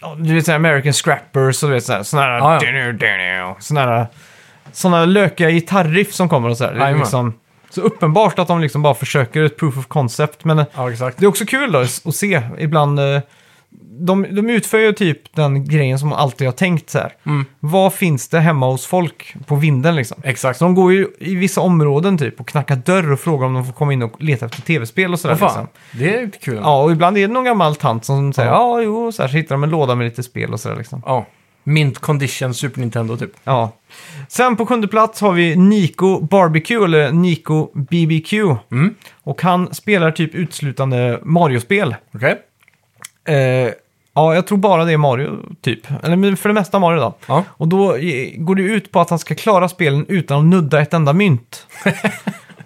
[SPEAKER 1] ja, Du vet, så här American Scrappers och du vet så här, såna här...
[SPEAKER 2] Ja, ja.
[SPEAKER 1] dunu, dunu, Såna här... Såna lökiga gitarriff som kommer och så här. Det är
[SPEAKER 2] Jajamän.
[SPEAKER 1] liksom, så uppenbart att de liksom bara försöker ett proof of concept. Men eh,
[SPEAKER 2] Ja, exakt.
[SPEAKER 1] det är också kul då att se ibland... eh, De, de utför ju typ den grejen som man alltid har tänkt så här.
[SPEAKER 2] Mm.
[SPEAKER 1] Vad finns det hemma hos folk på vinden liksom?
[SPEAKER 2] Exakt.
[SPEAKER 1] Så de går ju i vissa områden typ och knackar dörr och frågar om de får komma in och leta efter tv-spel och sådär.
[SPEAKER 2] Vad
[SPEAKER 1] Liksom.
[SPEAKER 2] fan. Det är ju kul.
[SPEAKER 1] Ja, och ibland är det någon gammal tant som säger ja,
[SPEAKER 2] Ja.
[SPEAKER 1] jo, så här, så hittar de en låda med lite spel och sådär liksom.
[SPEAKER 2] Ja. Mint condition Super Nintendo typ.
[SPEAKER 1] Ja. Sen på sjunde plats har vi Nico Barbecue, eller Nico BBQ.
[SPEAKER 2] Mm.
[SPEAKER 1] Och han spelar typ uteslutande Mario-spel.
[SPEAKER 2] Okej.
[SPEAKER 1] Eh, ja, jag tror bara det är Mario, typ. Eller men för det mesta Mario då.
[SPEAKER 2] Ja.
[SPEAKER 1] Och då eh, går det ut på att han ska klara spelen utan att nudda ett enda mynt.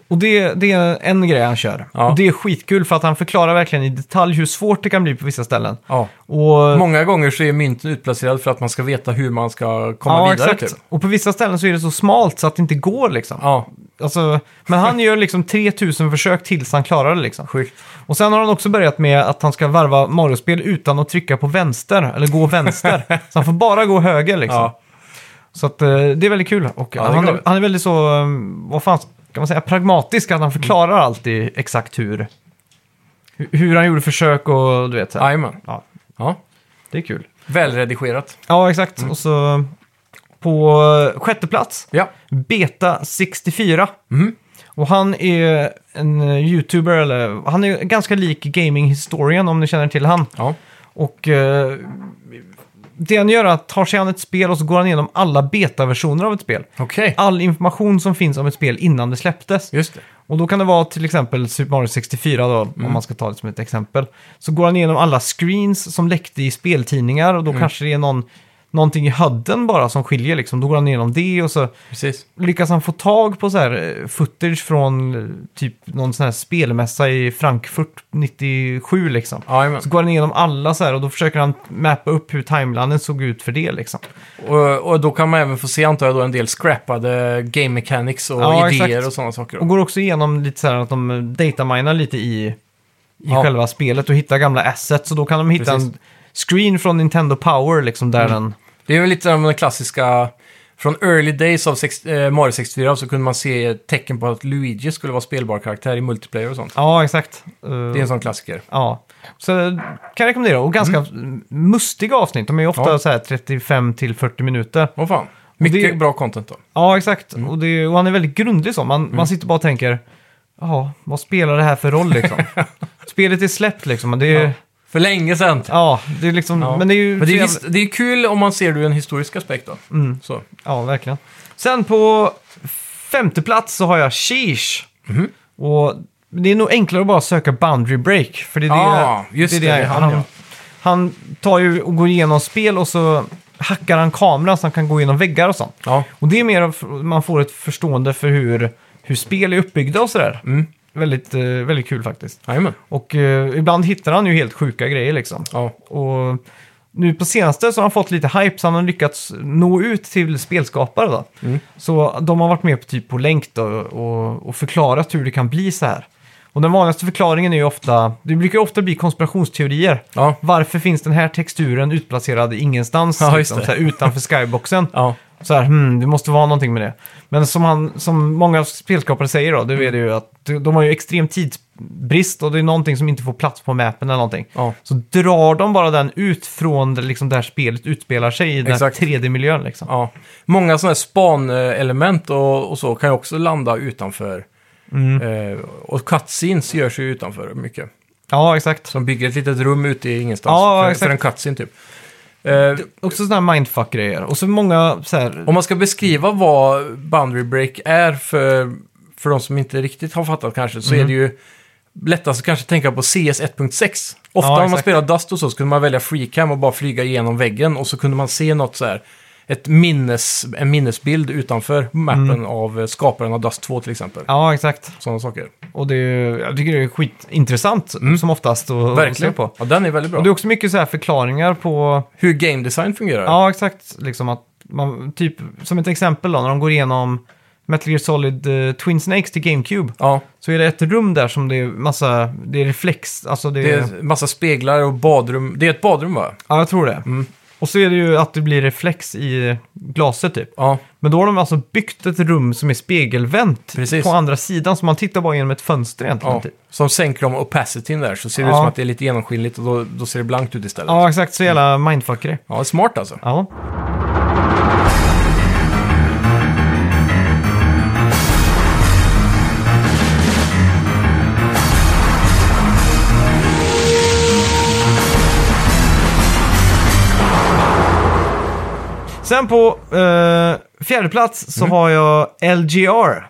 [SPEAKER 1] Och det, det är en grej han kör.
[SPEAKER 2] Ja.
[SPEAKER 1] Och det är skitkul för att han förklarar verkligen i detalj hur svårt det kan bli på vissa ställen.
[SPEAKER 2] Ja.
[SPEAKER 1] Och,
[SPEAKER 2] Många gånger så är mynten utplacerad för att man ska veta hur man ska komma vidare. Typ.
[SPEAKER 1] Och på vissa ställen så är det så smalt så att det inte går liksom.
[SPEAKER 2] Ja,
[SPEAKER 1] Alltså, men han gör liksom 3000 försök tills han klarar det liksom.
[SPEAKER 2] sjukt.
[SPEAKER 1] Och sen har han också börjat med att han ska varva Mario-spel utan att trycka på vänster, eller gå vänster. så han får bara gå höger liksom.
[SPEAKER 2] Ja.
[SPEAKER 1] Så att, eh, det är väldigt kul. Och
[SPEAKER 2] Ja, det är
[SPEAKER 1] han,
[SPEAKER 2] kul.
[SPEAKER 1] han är väldigt så, eh, vad fan kan man säga, pragmatisk. Att han förklarar
[SPEAKER 2] Mm.
[SPEAKER 1] alltid exakt hur, hu- hur han gjorde försök och du vet. Så här.
[SPEAKER 2] Jajamän.
[SPEAKER 1] Ja,
[SPEAKER 2] Ja.
[SPEAKER 1] det är kul.
[SPEAKER 2] Välredigerat.
[SPEAKER 1] Ja, exakt.
[SPEAKER 2] Mm.
[SPEAKER 1] Och så på eh, sjätte plats
[SPEAKER 2] Ja.
[SPEAKER 1] Beta 64.
[SPEAKER 2] Mm.
[SPEAKER 1] Och han är en eh, YouTuber, eller han är ganska lik Gaming Historian om ni känner till han.
[SPEAKER 2] Ja.
[SPEAKER 1] Och eh, det han gör är att tar sig an ett spel och så går han igenom alla betaversioner av ett spel.
[SPEAKER 2] Okej.
[SPEAKER 1] All information som finns om ett spel innan det släpptes.
[SPEAKER 2] Just det.
[SPEAKER 1] Och då kan det vara till exempel Super Mario 64 då, om man ska ta det som ett exempel. Så går han igenom alla screens som läckte i speltidningar och då kanske det är någon, någonting i hudden bara som skiljer liksom. Då går han igenom det och så
[SPEAKER 2] Precis.
[SPEAKER 1] lyckas han få tag på så här eh, footage från eh, typ någon sån här spelmässa i Frankfurt 97 liksom.
[SPEAKER 2] Jajamän.
[SPEAKER 1] Så går han igenom alla så här och då försöker han mappa upp hur timelinen såg ut för det liksom.
[SPEAKER 2] Och, och då kan man även få se, antar jag, då, en del scrappade game mechanics och
[SPEAKER 1] Ja,
[SPEAKER 2] idéer
[SPEAKER 1] exakt.
[SPEAKER 2] och sådana saker.
[SPEAKER 1] Och går också igenom lite så här att de eh, dataminar lite i, i
[SPEAKER 2] Ja.
[SPEAKER 1] själva spelet och hittar gamla assets. Och då kan de hitta
[SPEAKER 2] Precis. Mm.
[SPEAKER 1] en screen från Nintendo Power liksom där den...
[SPEAKER 2] Det är väl lite som den klassiska... Från early days av sex, eh, Mario 64 så kunde man se tecken på att Luigi skulle vara spelbar karaktär i multiplayer och sånt.
[SPEAKER 1] Ja, exakt. Eh,
[SPEAKER 2] Det är en sån klassiker.
[SPEAKER 1] Ja, så eh, kan jag rekommendera. Och ganska mustiga avsnitt. De är ju ofta
[SPEAKER 2] Mm. Ja.
[SPEAKER 1] så här 35 till 40 minuter.
[SPEAKER 2] Åh fan. Mycket
[SPEAKER 1] det-
[SPEAKER 2] bra content då.
[SPEAKER 1] Ja, exakt.
[SPEAKER 2] Mm.
[SPEAKER 1] Och, det, och han är väldigt grundlig så. Man, man sitter bara och tänker, ja, vad spelar det här för roll liksom? Spelet är släppt liksom. och Det är, ja.
[SPEAKER 2] För länge sedan.
[SPEAKER 1] det är liksom,
[SPEAKER 2] Ja.
[SPEAKER 1] men det är ju...
[SPEAKER 2] Men
[SPEAKER 1] så
[SPEAKER 2] det är,
[SPEAKER 1] Mm.
[SPEAKER 2] visst, det är kul om man ser det ur en historisk aspekt då. Så.
[SPEAKER 1] jävla- Ja, verkligen. Sen på femte plats så har jag Sheesh.
[SPEAKER 2] Mhm.
[SPEAKER 1] Och det är nog enklare att bara söka Boundary Break. För det är det,
[SPEAKER 2] Ja, just det, det är
[SPEAKER 1] han,
[SPEAKER 2] han,
[SPEAKER 1] han,
[SPEAKER 2] ja.
[SPEAKER 1] han tar ju och går igenom spel och så hackar han kameran så han kan gå igenom väggar och sånt.
[SPEAKER 2] Ja.
[SPEAKER 1] Och det är mer av, man får ett förstående för hur, hur spel är uppbyggda och sådär.
[SPEAKER 2] Mm.
[SPEAKER 1] Väldigt, eh, väldigt kul faktiskt.
[SPEAKER 2] Jajamän.
[SPEAKER 1] Och eh, ibland hittar han ju helt sjuka grejer liksom.
[SPEAKER 2] Ja.
[SPEAKER 1] Och nu på senaste så har han fått lite hype så han har lyckats nå ut till spelskapare. Då.
[SPEAKER 2] Mm.
[SPEAKER 1] Så de har varit med på, typ på länk då, och, och förklarat hur det kan bli så här. Och den vanligaste förklaringen är ju ofta, det brukar ju ofta bli konspirationsteorier.
[SPEAKER 2] Ja.
[SPEAKER 1] Varför finns den här texturen utplacerad ingenstans
[SPEAKER 2] Ja, just
[SPEAKER 1] liksom,
[SPEAKER 2] det.
[SPEAKER 1] så här, utanför skyboxen?
[SPEAKER 2] Ja.
[SPEAKER 1] Så här, hmm, det måste vara någonting med det. Men som, han, som många spelskapare säger då,
[SPEAKER 2] Mm.
[SPEAKER 1] det är det ju att de har ju extrem tidsbrist och det är någonting som inte får plats på mappen eller någonting.
[SPEAKER 2] Ja.
[SPEAKER 1] Så drar de bara den ut från det, liksom, där spelet utspelar sig i den här
[SPEAKER 2] Exakt.
[SPEAKER 1] 3D-miljön liksom.
[SPEAKER 2] Ja. Många sådana här span-element och, och så kan ju också landa utanför.
[SPEAKER 1] Mm.
[SPEAKER 2] Eh, och cutscenes görs ju utanför mycket.
[SPEAKER 1] Ja, exakt.
[SPEAKER 2] Som bygger ett litet rum ute i ingenstans
[SPEAKER 1] Ja,
[SPEAKER 2] för,
[SPEAKER 1] exakt.
[SPEAKER 2] för en cutscene typ. Eh,
[SPEAKER 1] Också sådana här mindfuck-grejer. Och så många så här,
[SPEAKER 2] om man ska beskriva vad boundary break är för, för de som inte riktigt har fattat kanske,
[SPEAKER 1] Mhm.
[SPEAKER 2] så är det ju lättast att kanske tänka på CS 1.6. Ofta
[SPEAKER 1] Ja,
[SPEAKER 2] när man
[SPEAKER 1] exakt.
[SPEAKER 2] spelar Dust och så, så kunde man välja freecam och bara flyga igenom väggen och så kunde man se något så här, ett minnes, en minnesbild utanför mappen av eh, skaparen av Dust 2 till exempel.
[SPEAKER 1] Mm. Ja, exakt.
[SPEAKER 2] Sådana saker.
[SPEAKER 1] Och det är, ju- jag tycker det är skitintressant som oftast att att se
[SPEAKER 2] Mm. Verkligen.
[SPEAKER 1] på.
[SPEAKER 2] Ja, den är väldigt bra.
[SPEAKER 1] Och det är också mycket så här förklaringar på
[SPEAKER 2] Hur game design fungerar.
[SPEAKER 1] Ja, exakt. Liksom att man, typ, som ett exempel då, när de går igenom Metal Gear Solid eh, Twin Snakes till GameCube.
[SPEAKER 2] ja.
[SPEAKER 1] Så är det ett rum där som det är massa, det är reflex, alltså det,
[SPEAKER 2] Det
[SPEAKER 1] är...
[SPEAKER 2] är massa speglar och badrum. Det är ett badrum va?
[SPEAKER 1] Ja, jag tror det.
[SPEAKER 2] Mm.
[SPEAKER 1] Och så är det ju att det blir reflex i glaset typ.
[SPEAKER 2] Ja,
[SPEAKER 1] Men då har de alltså byggt ett rum som är spegelvänt
[SPEAKER 2] Precis.
[SPEAKER 1] på andra sidan, så man tittar bara genom ett fönster egentligen.
[SPEAKER 2] ja.
[SPEAKER 1] Typ.
[SPEAKER 2] Som sänker de opacityn där så ser det ut
[SPEAKER 1] Ja.
[SPEAKER 2] som att det är lite genomskinligt och då, då ser det blankt ut istället. Ja,
[SPEAKER 1] ja exakt. Så jävla mindfuckare.
[SPEAKER 2] smart alltså.
[SPEAKER 1] Ja. Sen på eh, fjärde plats så har jag LGR.
[SPEAKER 2] Mm.
[SPEAKER 1] Eh,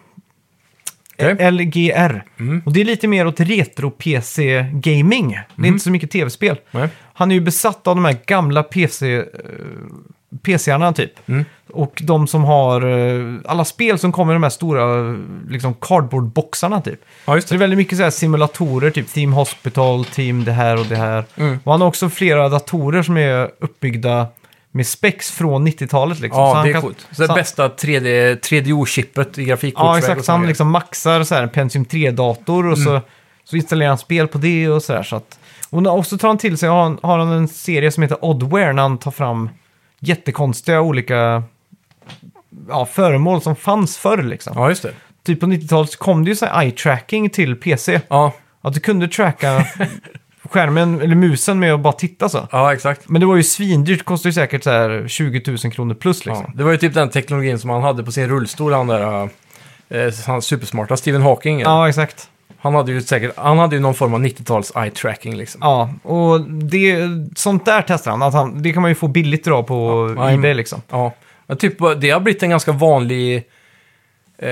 [SPEAKER 2] Okej. Mm.
[SPEAKER 1] LGR. Och det är lite mer åt retro-PC-gaming. Det är inte så mycket tv-spel.
[SPEAKER 2] Mm. Nej.
[SPEAKER 1] Han är ju besatt av de här gamla PC, eh, PC-arna typ.
[SPEAKER 2] Mm.
[SPEAKER 1] Och de som har eh, alla spel som kommer i de här stora eh, liksom cardboardboxarna typ.
[SPEAKER 2] Ja, just
[SPEAKER 1] Så det är
[SPEAKER 2] det.
[SPEAKER 1] väldigt mycket så här simulatorer, typ Team Hospital, Team det här och det här.
[SPEAKER 2] Mm.
[SPEAKER 1] Och han har också flera datorer som är uppbyggda med spex från 90-talet. Liksom. Så
[SPEAKER 2] Ja,
[SPEAKER 1] han
[SPEAKER 2] det är
[SPEAKER 1] kan-
[SPEAKER 2] coolt. Så det
[SPEAKER 1] han-
[SPEAKER 2] bästa 3D, 3DO-chippet i grafikkortsväg
[SPEAKER 1] Ja,
[SPEAKER 2] och
[SPEAKER 1] exakt. Så
[SPEAKER 2] såna
[SPEAKER 1] han
[SPEAKER 2] grejer. Mm.
[SPEAKER 1] liksom maxar så här en Pentium 3-dator och så, så installerar han spel på det och så där. Så att, och, när- och så tar han till sig, har han, har han en serie som heter Oddware när han tar fram jättekonstiga olika ja, föremål som fanns förr. Liksom.
[SPEAKER 2] Ja, just det.
[SPEAKER 1] Typ på 90-talet så kom det ju så här eye-tracking till PC.
[SPEAKER 2] Ja,
[SPEAKER 1] Att du kunde tracka skärmen eller musen med att bara titta så.
[SPEAKER 2] ja exakt.
[SPEAKER 1] Men det var ju svindyrt, det kostade ju säkert så här 20 000 kronor plus liksom.
[SPEAKER 2] Ja. Det var ju typ den teknologin som han hade på sin rullstol, han där eh, han supersmarta Stephen Hawking.
[SPEAKER 1] ja exakt.
[SPEAKER 2] Han, hade ju säkert, han hade ju någon form av 90-tals eye-tracking liksom.
[SPEAKER 1] Ja, och det, sånt där testar han. Att han. Det kan man ju få billigt idag på
[SPEAKER 2] Ja,
[SPEAKER 1] Ebay
[SPEAKER 2] men-
[SPEAKER 1] liksom.
[SPEAKER 2] Ja, men typ, det har blivit en ganska vanlig... Eh,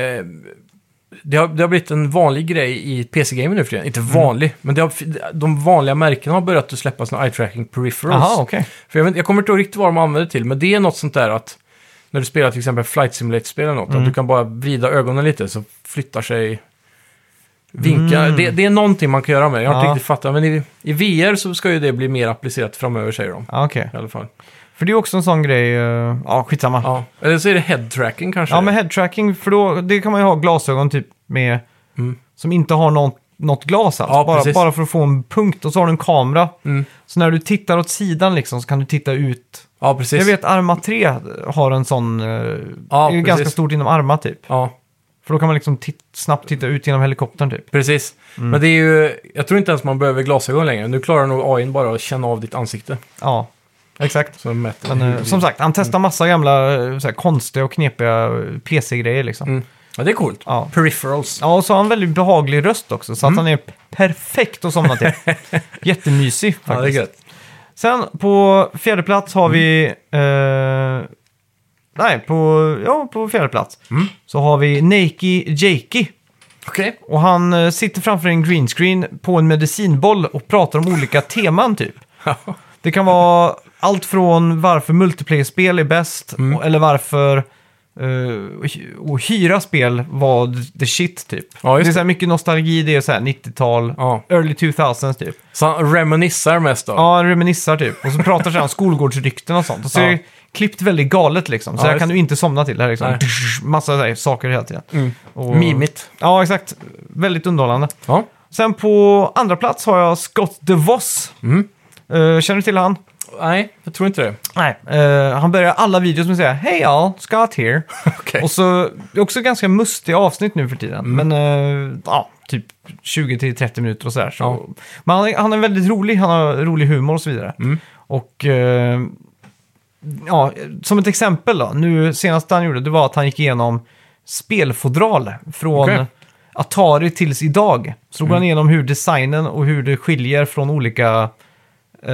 [SPEAKER 2] det, har, det har blivit en vanlig grej i PC-gamer nu för tiden.
[SPEAKER 1] Mm.
[SPEAKER 2] Inte vanlig, men det har, de vanliga märkena har börjat att släppa sina eye-tracking peripherals.
[SPEAKER 1] Jaha, okej.
[SPEAKER 2] För jag, vet, jag kommer inte ihåg riktigt vad de använder det till, men det är något sånt där att när du spelar till exempel Flight Simulator-spel eller
[SPEAKER 1] Mm.
[SPEAKER 2] något, att du kan bara vrida ögonen lite så flyttar sig vinkeln. Det, det är någonting man kan göra med det. Jag har
[SPEAKER 1] Mm. Ja.
[SPEAKER 2] inte riktigt fattat, men i, i VR så ska ju det bli mer applicerat framöver säger de.
[SPEAKER 1] Ja, okej.
[SPEAKER 2] I alla fall.
[SPEAKER 1] För det är också en sån grej, eh, ja skitsamma. Ja,
[SPEAKER 2] Ja. Eller så är det head-tracking kanske.
[SPEAKER 1] men headtracking, för då, det kan man ju ha glasögon typ med,
[SPEAKER 2] Mm.
[SPEAKER 1] som inte har något, något glas alls.
[SPEAKER 2] Ja,
[SPEAKER 1] bara,
[SPEAKER 2] precis.
[SPEAKER 1] bara för att få en punkt och så har du en kamera.
[SPEAKER 2] Mm.
[SPEAKER 1] Så när du tittar åt sidan liksom så kan du titta ut.
[SPEAKER 2] Ja, precis.
[SPEAKER 1] Jag vet Arma 3 har en sån, eh,
[SPEAKER 2] Ja,
[SPEAKER 1] det är ju
[SPEAKER 2] precis.
[SPEAKER 1] ganska stort inom Arma typ.
[SPEAKER 2] Ja,
[SPEAKER 1] För då kan man liksom titt, snabbt titta ut genom helikoptern typ.
[SPEAKER 2] precis. Men det är ju... Jag tror inte ens man behöver glasögon längre. Nu klarar nog AIn bara att känna av ditt ansikte.
[SPEAKER 1] Ja, exakt.
[SPEAKER 2] Så den mäter Mm.
[SPEAKER 1] Men, eh,
[SPEAKER 2] hur-
[SPEAKER 1] som sagt, han testar massa gamla eh, så här, konstiga och knepiga eh, PC-grejer liksom.
[SPEAKER 2] Mm. Ja, det är coolt.
[SPEAKER 1] Ja.
[SPEAKER 2] Peripherals.
[SPEAKER 1] Ja, och så har han väldigt behaglig röst också, så
[SPEAKER 2] Mm.
[SPEAKER 1] att han är p- perfekt att somna till. Jättemysig faktiskt.
[SPEAKER 2] Ja, det är gött.
[SPEAKER 1] Sen på fjärde plats har vi... Eh, nej, på, ja, på fjärde plats
[SPEAKER 2] Mm.
[SPEAKER 1] så har vi Nakey Jakey.
[SPEAKER 2] Okej.
[SPEAKER 1] Och han eh, sitter framför en green screen på en medicinboll och pratar om olika teman typ.
[SPEAKER 2] Mm.
[SPEAKER 1] Det kan vara allt från varför multiplayer-spel är bäst, och- eller varför eh, och hy- och hyra spel var the shit typ.
[SPEAKER 2] Ja,
[SPEAKER 1] det
[SPEAKER 2] just
[SPEAKER 1] är
[SPEAKER 2] det.
[SPEAKER 1] så här mycket nostalgi, det är så här 90-tal,
[SPEAKER 2] Ja.
[SPEAKER 1] early 2000s typ.
[SPEAKER 2] Så han reminissar mest då?
[SPEAKER 1] Ja, reminissar typ. Och så pratar så här om skolgårdsrykten och sånt. Och så
[SPEAKER 2] Ja.
[SPEAKER 1] är det klippt väldigt galet liksom. Så
[SPEAKER 2] Ja,
[SPEAKER 1] här
[SPEAKER 2] just
[SPEAKER 1] kan du inte somna till. Det här, liksom.
[SPEAKER 2] Nej.
[SPEAKER 1] Massa så här, saker hela tiden.
[SPEAKER 2] Mm.
[SPEAKER 1] Och...
[SPEAKER 2] Mimigt.
[SPEAKER 1] Ja, exakt. Väldigt underhållande.
[SPEAKER 2] Ja.
[SPEAKER 1] Sen på andra plats har jag Scott DeVos.
[SPEAKER 2] Mm.
[SPEAKER 1] Eh, känner du till han?
[SPEAKER 2] Nej, jag tror inte det.
[SPEAKER 1] Nej. eh, han börjar alla videos med att säga Hej all, Scott here.
[SPEAKER 2] Okej. Mm.
[SPEAKER 1] Och så, det är också ganska mustiga avsnitt nu för tiden. Men eh, ja, typ 20-30 minuter och sådär. Så.
[SPEAKER 2] Ja.
[SPEAKER 1] Men han är, han är väldigt rolig, han har rolig humor och så vidare.
[SPEAKER 2] Mm.
[SPEAKER 1] Och eh, ja, som ett exempel då, nu senaste han gjorde det var att han gick igenom spelfodral från
[SPEAKER 2] Okej. Mm.
[SPEAKER 1] Atari tills idag. Så drog han igenom hur designen och hur det skiljer från olika eh,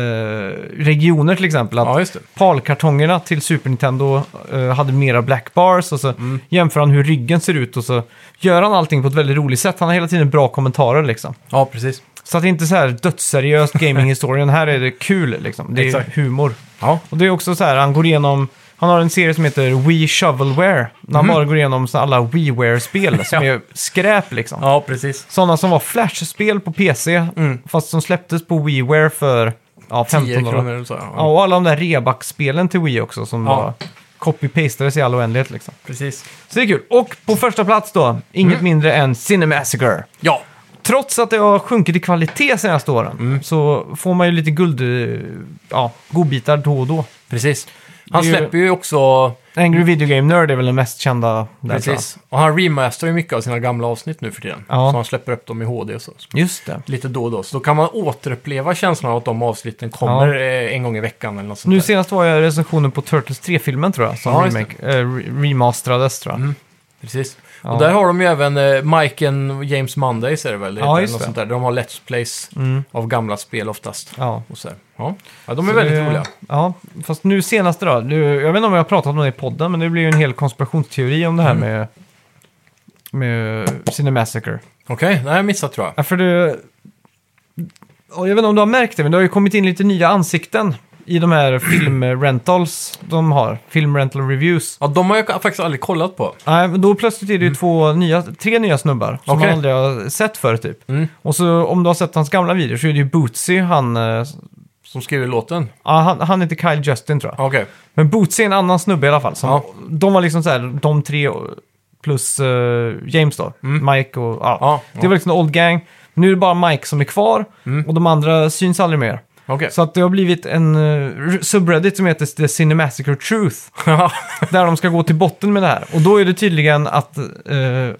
[SPEAKER 1] regioner till exempel. Att
[SPEAKER 2] Ja, just det.
[SPEAKER 1] PAL-kartongerna till Super Nintendo eh, hade mera black bars och så
[SPEAKER 2] Mm.
[SPEAKER 1] jämför han hur ryggen ser ut och så gör han allting på ett väldigt roligt sätt. Han har hela tiden bra kommentarer liksom.
[SPEAKER 2] Ja, precis.
[SPEAKER 1] Så att det är inte så här dödsseriöst gaminghistorien, här är det kul liksom. Det är
[SPEAKER 2] Exakt.
[SPEAKER 1] humor.
[SPEAKER 2] Ja.
[SPEAKER 1] Och det är också så här, han går igenom, han har en serie som heter Wii Shovelware. När han bara går igenom så alla WiiWare-spel som
[SPEAKER 2] Mhm. Ja.
[SPEAKER 1] är skräp liksom.
[SPEAKER 2] ja, Mm. precis.
[SPEAKER 1] Sådana som var flashspel på PC, fast som släpptes på WiiWare för ja,
[SPEAKER 2] 10
[SPEAKER 1] 15 år.
[SPEAKER 2] kronor eller så. Ja,
[SPEAKER 1] Ja, och alla de där reback-spelen till Wii också som
[SPEAKER 2] Ja.
[SPEAKER 1] var copy-pastades i all oändlighet liksom.
[SPEAKER 2] precis.
[SPEAKER 1] Så det är kul. Och på första plats då, inget
[SPEAKER 2] Mm.
[SPEAKER 1] mindre än Cinemassacre.
[SPEAKER 2] Ja,
[SPEAKER 1] Trots att det har sjunkit i kvalitet senaste åren
[SPEAKER 2] Mm.
[SPEAKER 1] så får man ju lite guld... eh, Ja, godbitar då och då.
[SPEAKER 2] precis. Han
[SPEAKER 1] Det är ju-
[SPEAKER 2] släpper ju också...
[SPEAKER 1] Angry Video Game Nerd är väl den mest kända där, tror
[SPEAKER 2] Precis. Och han remasterar ju mycket av sina gamla avsnitt nu för tiden.
[SPEAKER 1] Ja.
[SPEAKER 2] Så han släpper upp dem i HD och så.
[SPEAKER 1] jag. Just det.
[SPEAKER 2] Lite då och då. Så då kan man återuppleva känslan av att de avsnitten kommer eh, en gång i veckan eller något sånt
[SPEAKER 1] Nu
[SPEAKER 2] där.
[SPEAKER 1] senast var jag recensionen på Turtles 3-filmen tror jag, som
[SPEAKER 2] Ja, just Mm.
[SPEAKER 1] remake, eh, re- remasterades tror jag.
[SPEAKER 2] Precis.
[SPEAKER 1] Ja.
[SPEAKER 2] Och där har de ju även eh, Mike and James Mondays är det väl? Det
[SPEAKER 1] Ja,
[SPEAKER 2] heter,
[SPEAKER 1] just
[SPEAKER 2] något
[SPEAKER 1] det.
[SPEAKER 2] Sånt där. De har Let's Plays av gamla spel oftast.
[SPEAKER 1] Ja.
[SPEAKER 2] Och så här. Ja. ja, de är
[SPEAKER 1] Så
[SPEAKER 2] väldigt
[SPEAKER 1] det-
[SPEAKER 2] roliga.
[SPEAKER 1] Ja, fast nu senaste då. Nu, jag vet inte om jag har pratat om det i podden, men det blir ju en hel konspirationsteori om det här
[SPEAKER 2] Mm.
[SPEAKER 1] med, med Cinemassacre.
[SPEAKER 2] Okej, nej jag missat tror jag.
[SPEAKER 1] Ja, för det, och jag vet inte om du har märkt det, men det har ju kommit in lite nya ansikten i de här filmrentals de har. Filmrental reviews.
[SPEAKER 2] Ja, de har jag faktiskt aldrig kollat på.
[SPEAKER 1] Nej, men då plötsligt är det ju två nya, tre nya snubbar som
[SPEAKER 2] Mm. Okej.
[SPEAKER 1] man aldrig har sett förr typ.
[SPEAKER 2] Mm.
[SPEAKER 1] Och så om du har sett hans gamla videor så är det ju Bootsy, han, eh,
[SPEAKER 2] Som skriver låten.
[SPEAKER 1] ja, han, han heter Kyle Justin tror jag.
[SPEAKER 2] Okej,
[SPEAKER 1] Men Bootsy är en annan snubbe i alla fall. Som,
[SPEAKER 2] Ja.
[SPEAKER 1] De var liksom så här, de tre plus eh, James då, Mike och... Ja.
[SPEAKER 2] Ja, ja.
[SPEAKER 1] Det var liksom en old gang. Nu är det bara Mike som är kvar och de andra syns aldrig mer.
[SPEAKER 2] okej.
[SPEAKER 1] Så att det har blivit en eh, subreddit som heter The Cinemassacre Truth.
[SPEAKER 2] Ja,
[SPEAKER 1] Där de ska gå till botten med det här. Och då är det tydligen att, eh,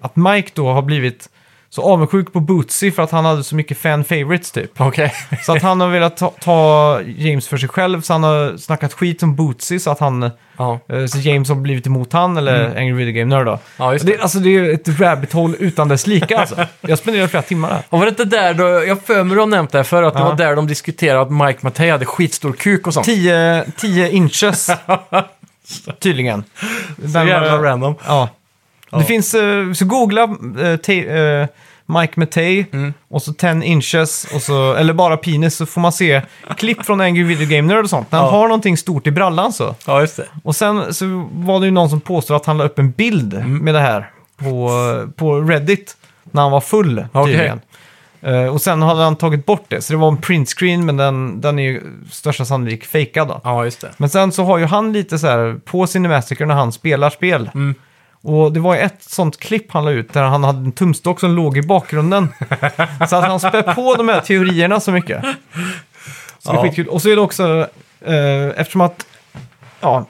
[SPEAKER 1] att Mike då har blivit så avundsjuk på Bootsy för att han hade så mycket fan favorites typ.
[SPEAKER 2] okej.
[SPEAKER 1] Så att han har velat ta, ta James för sig själv, så han har snackat skit om Bootsy så att han
[SPEAKER 2] Ja.
[SPEAKER 1] Eh, Så James har blivit emot han, eller Angry Video Game Nerd då.
[SPEAKER 2] Mm. ja, just det.
[SPEAKER 1] Det, alltså det är ett rabbit hole utan dess lika alltså. Jag spenderade flera timmar där.
[SPEAKER 2] Och var det inte där då, jag har för mig du har nämnt det här för att det
[SPEAKER 1] Ja.
[SPEAKER 2] var där de diskuterade att Mike Mattei hade skitstor kuk och sånt.
[SPEAKER 1] 10, 10 inches. Tydligen.
[SPEAKER 2] Så
[SPEAKER 1] Den,
[SPEAKER 2] jävla
[SPEAKER 1] eh,
[SPEAKER 2] random.
[SPEAKER 1] ja. Det finns, eh, så googla eh, te, eh, Mike Mattei
[SPEAKER 2] Mm.
[SPEAKER 1] och så 10 inches, och så, eller bara penis, så får man se klipp från Angry Video Game Nerd och sånt. När han
[SPEAKER 2] Ja.
[SPEAKER 1] har någonting stort i brallan så.
[SPEAKER 2] Ja, just det.
[SPEAKER 1] Och sen så var det ju någon som påstod att han la upp en bild med det här på, på Reddit när han var full
[SPEAKER 2] Okej.
[SPEAKER 1] tydligen. Eh, och sen hade han tagit bort det, så det var en printscreen men den, den är ju största sannolik fejkad då.
[SPEAKER 2] Ja, just det.
[SPEAKER 1] Men sen så har ju han lite så här på Cinemassacre när han spelar spel.
[SPEAKER 2] Mm.
[SPEAKER 1] Och det var ju ett sånt klipp han la ut där han hade en tumstock som låg i bakgrunden. så att han spär på de här teorierna så mycket. Så det är
[SPEAKER 2] Ja.
[SPEAKER 1] skitkul. Och så är det också, eh, eftersom att ja,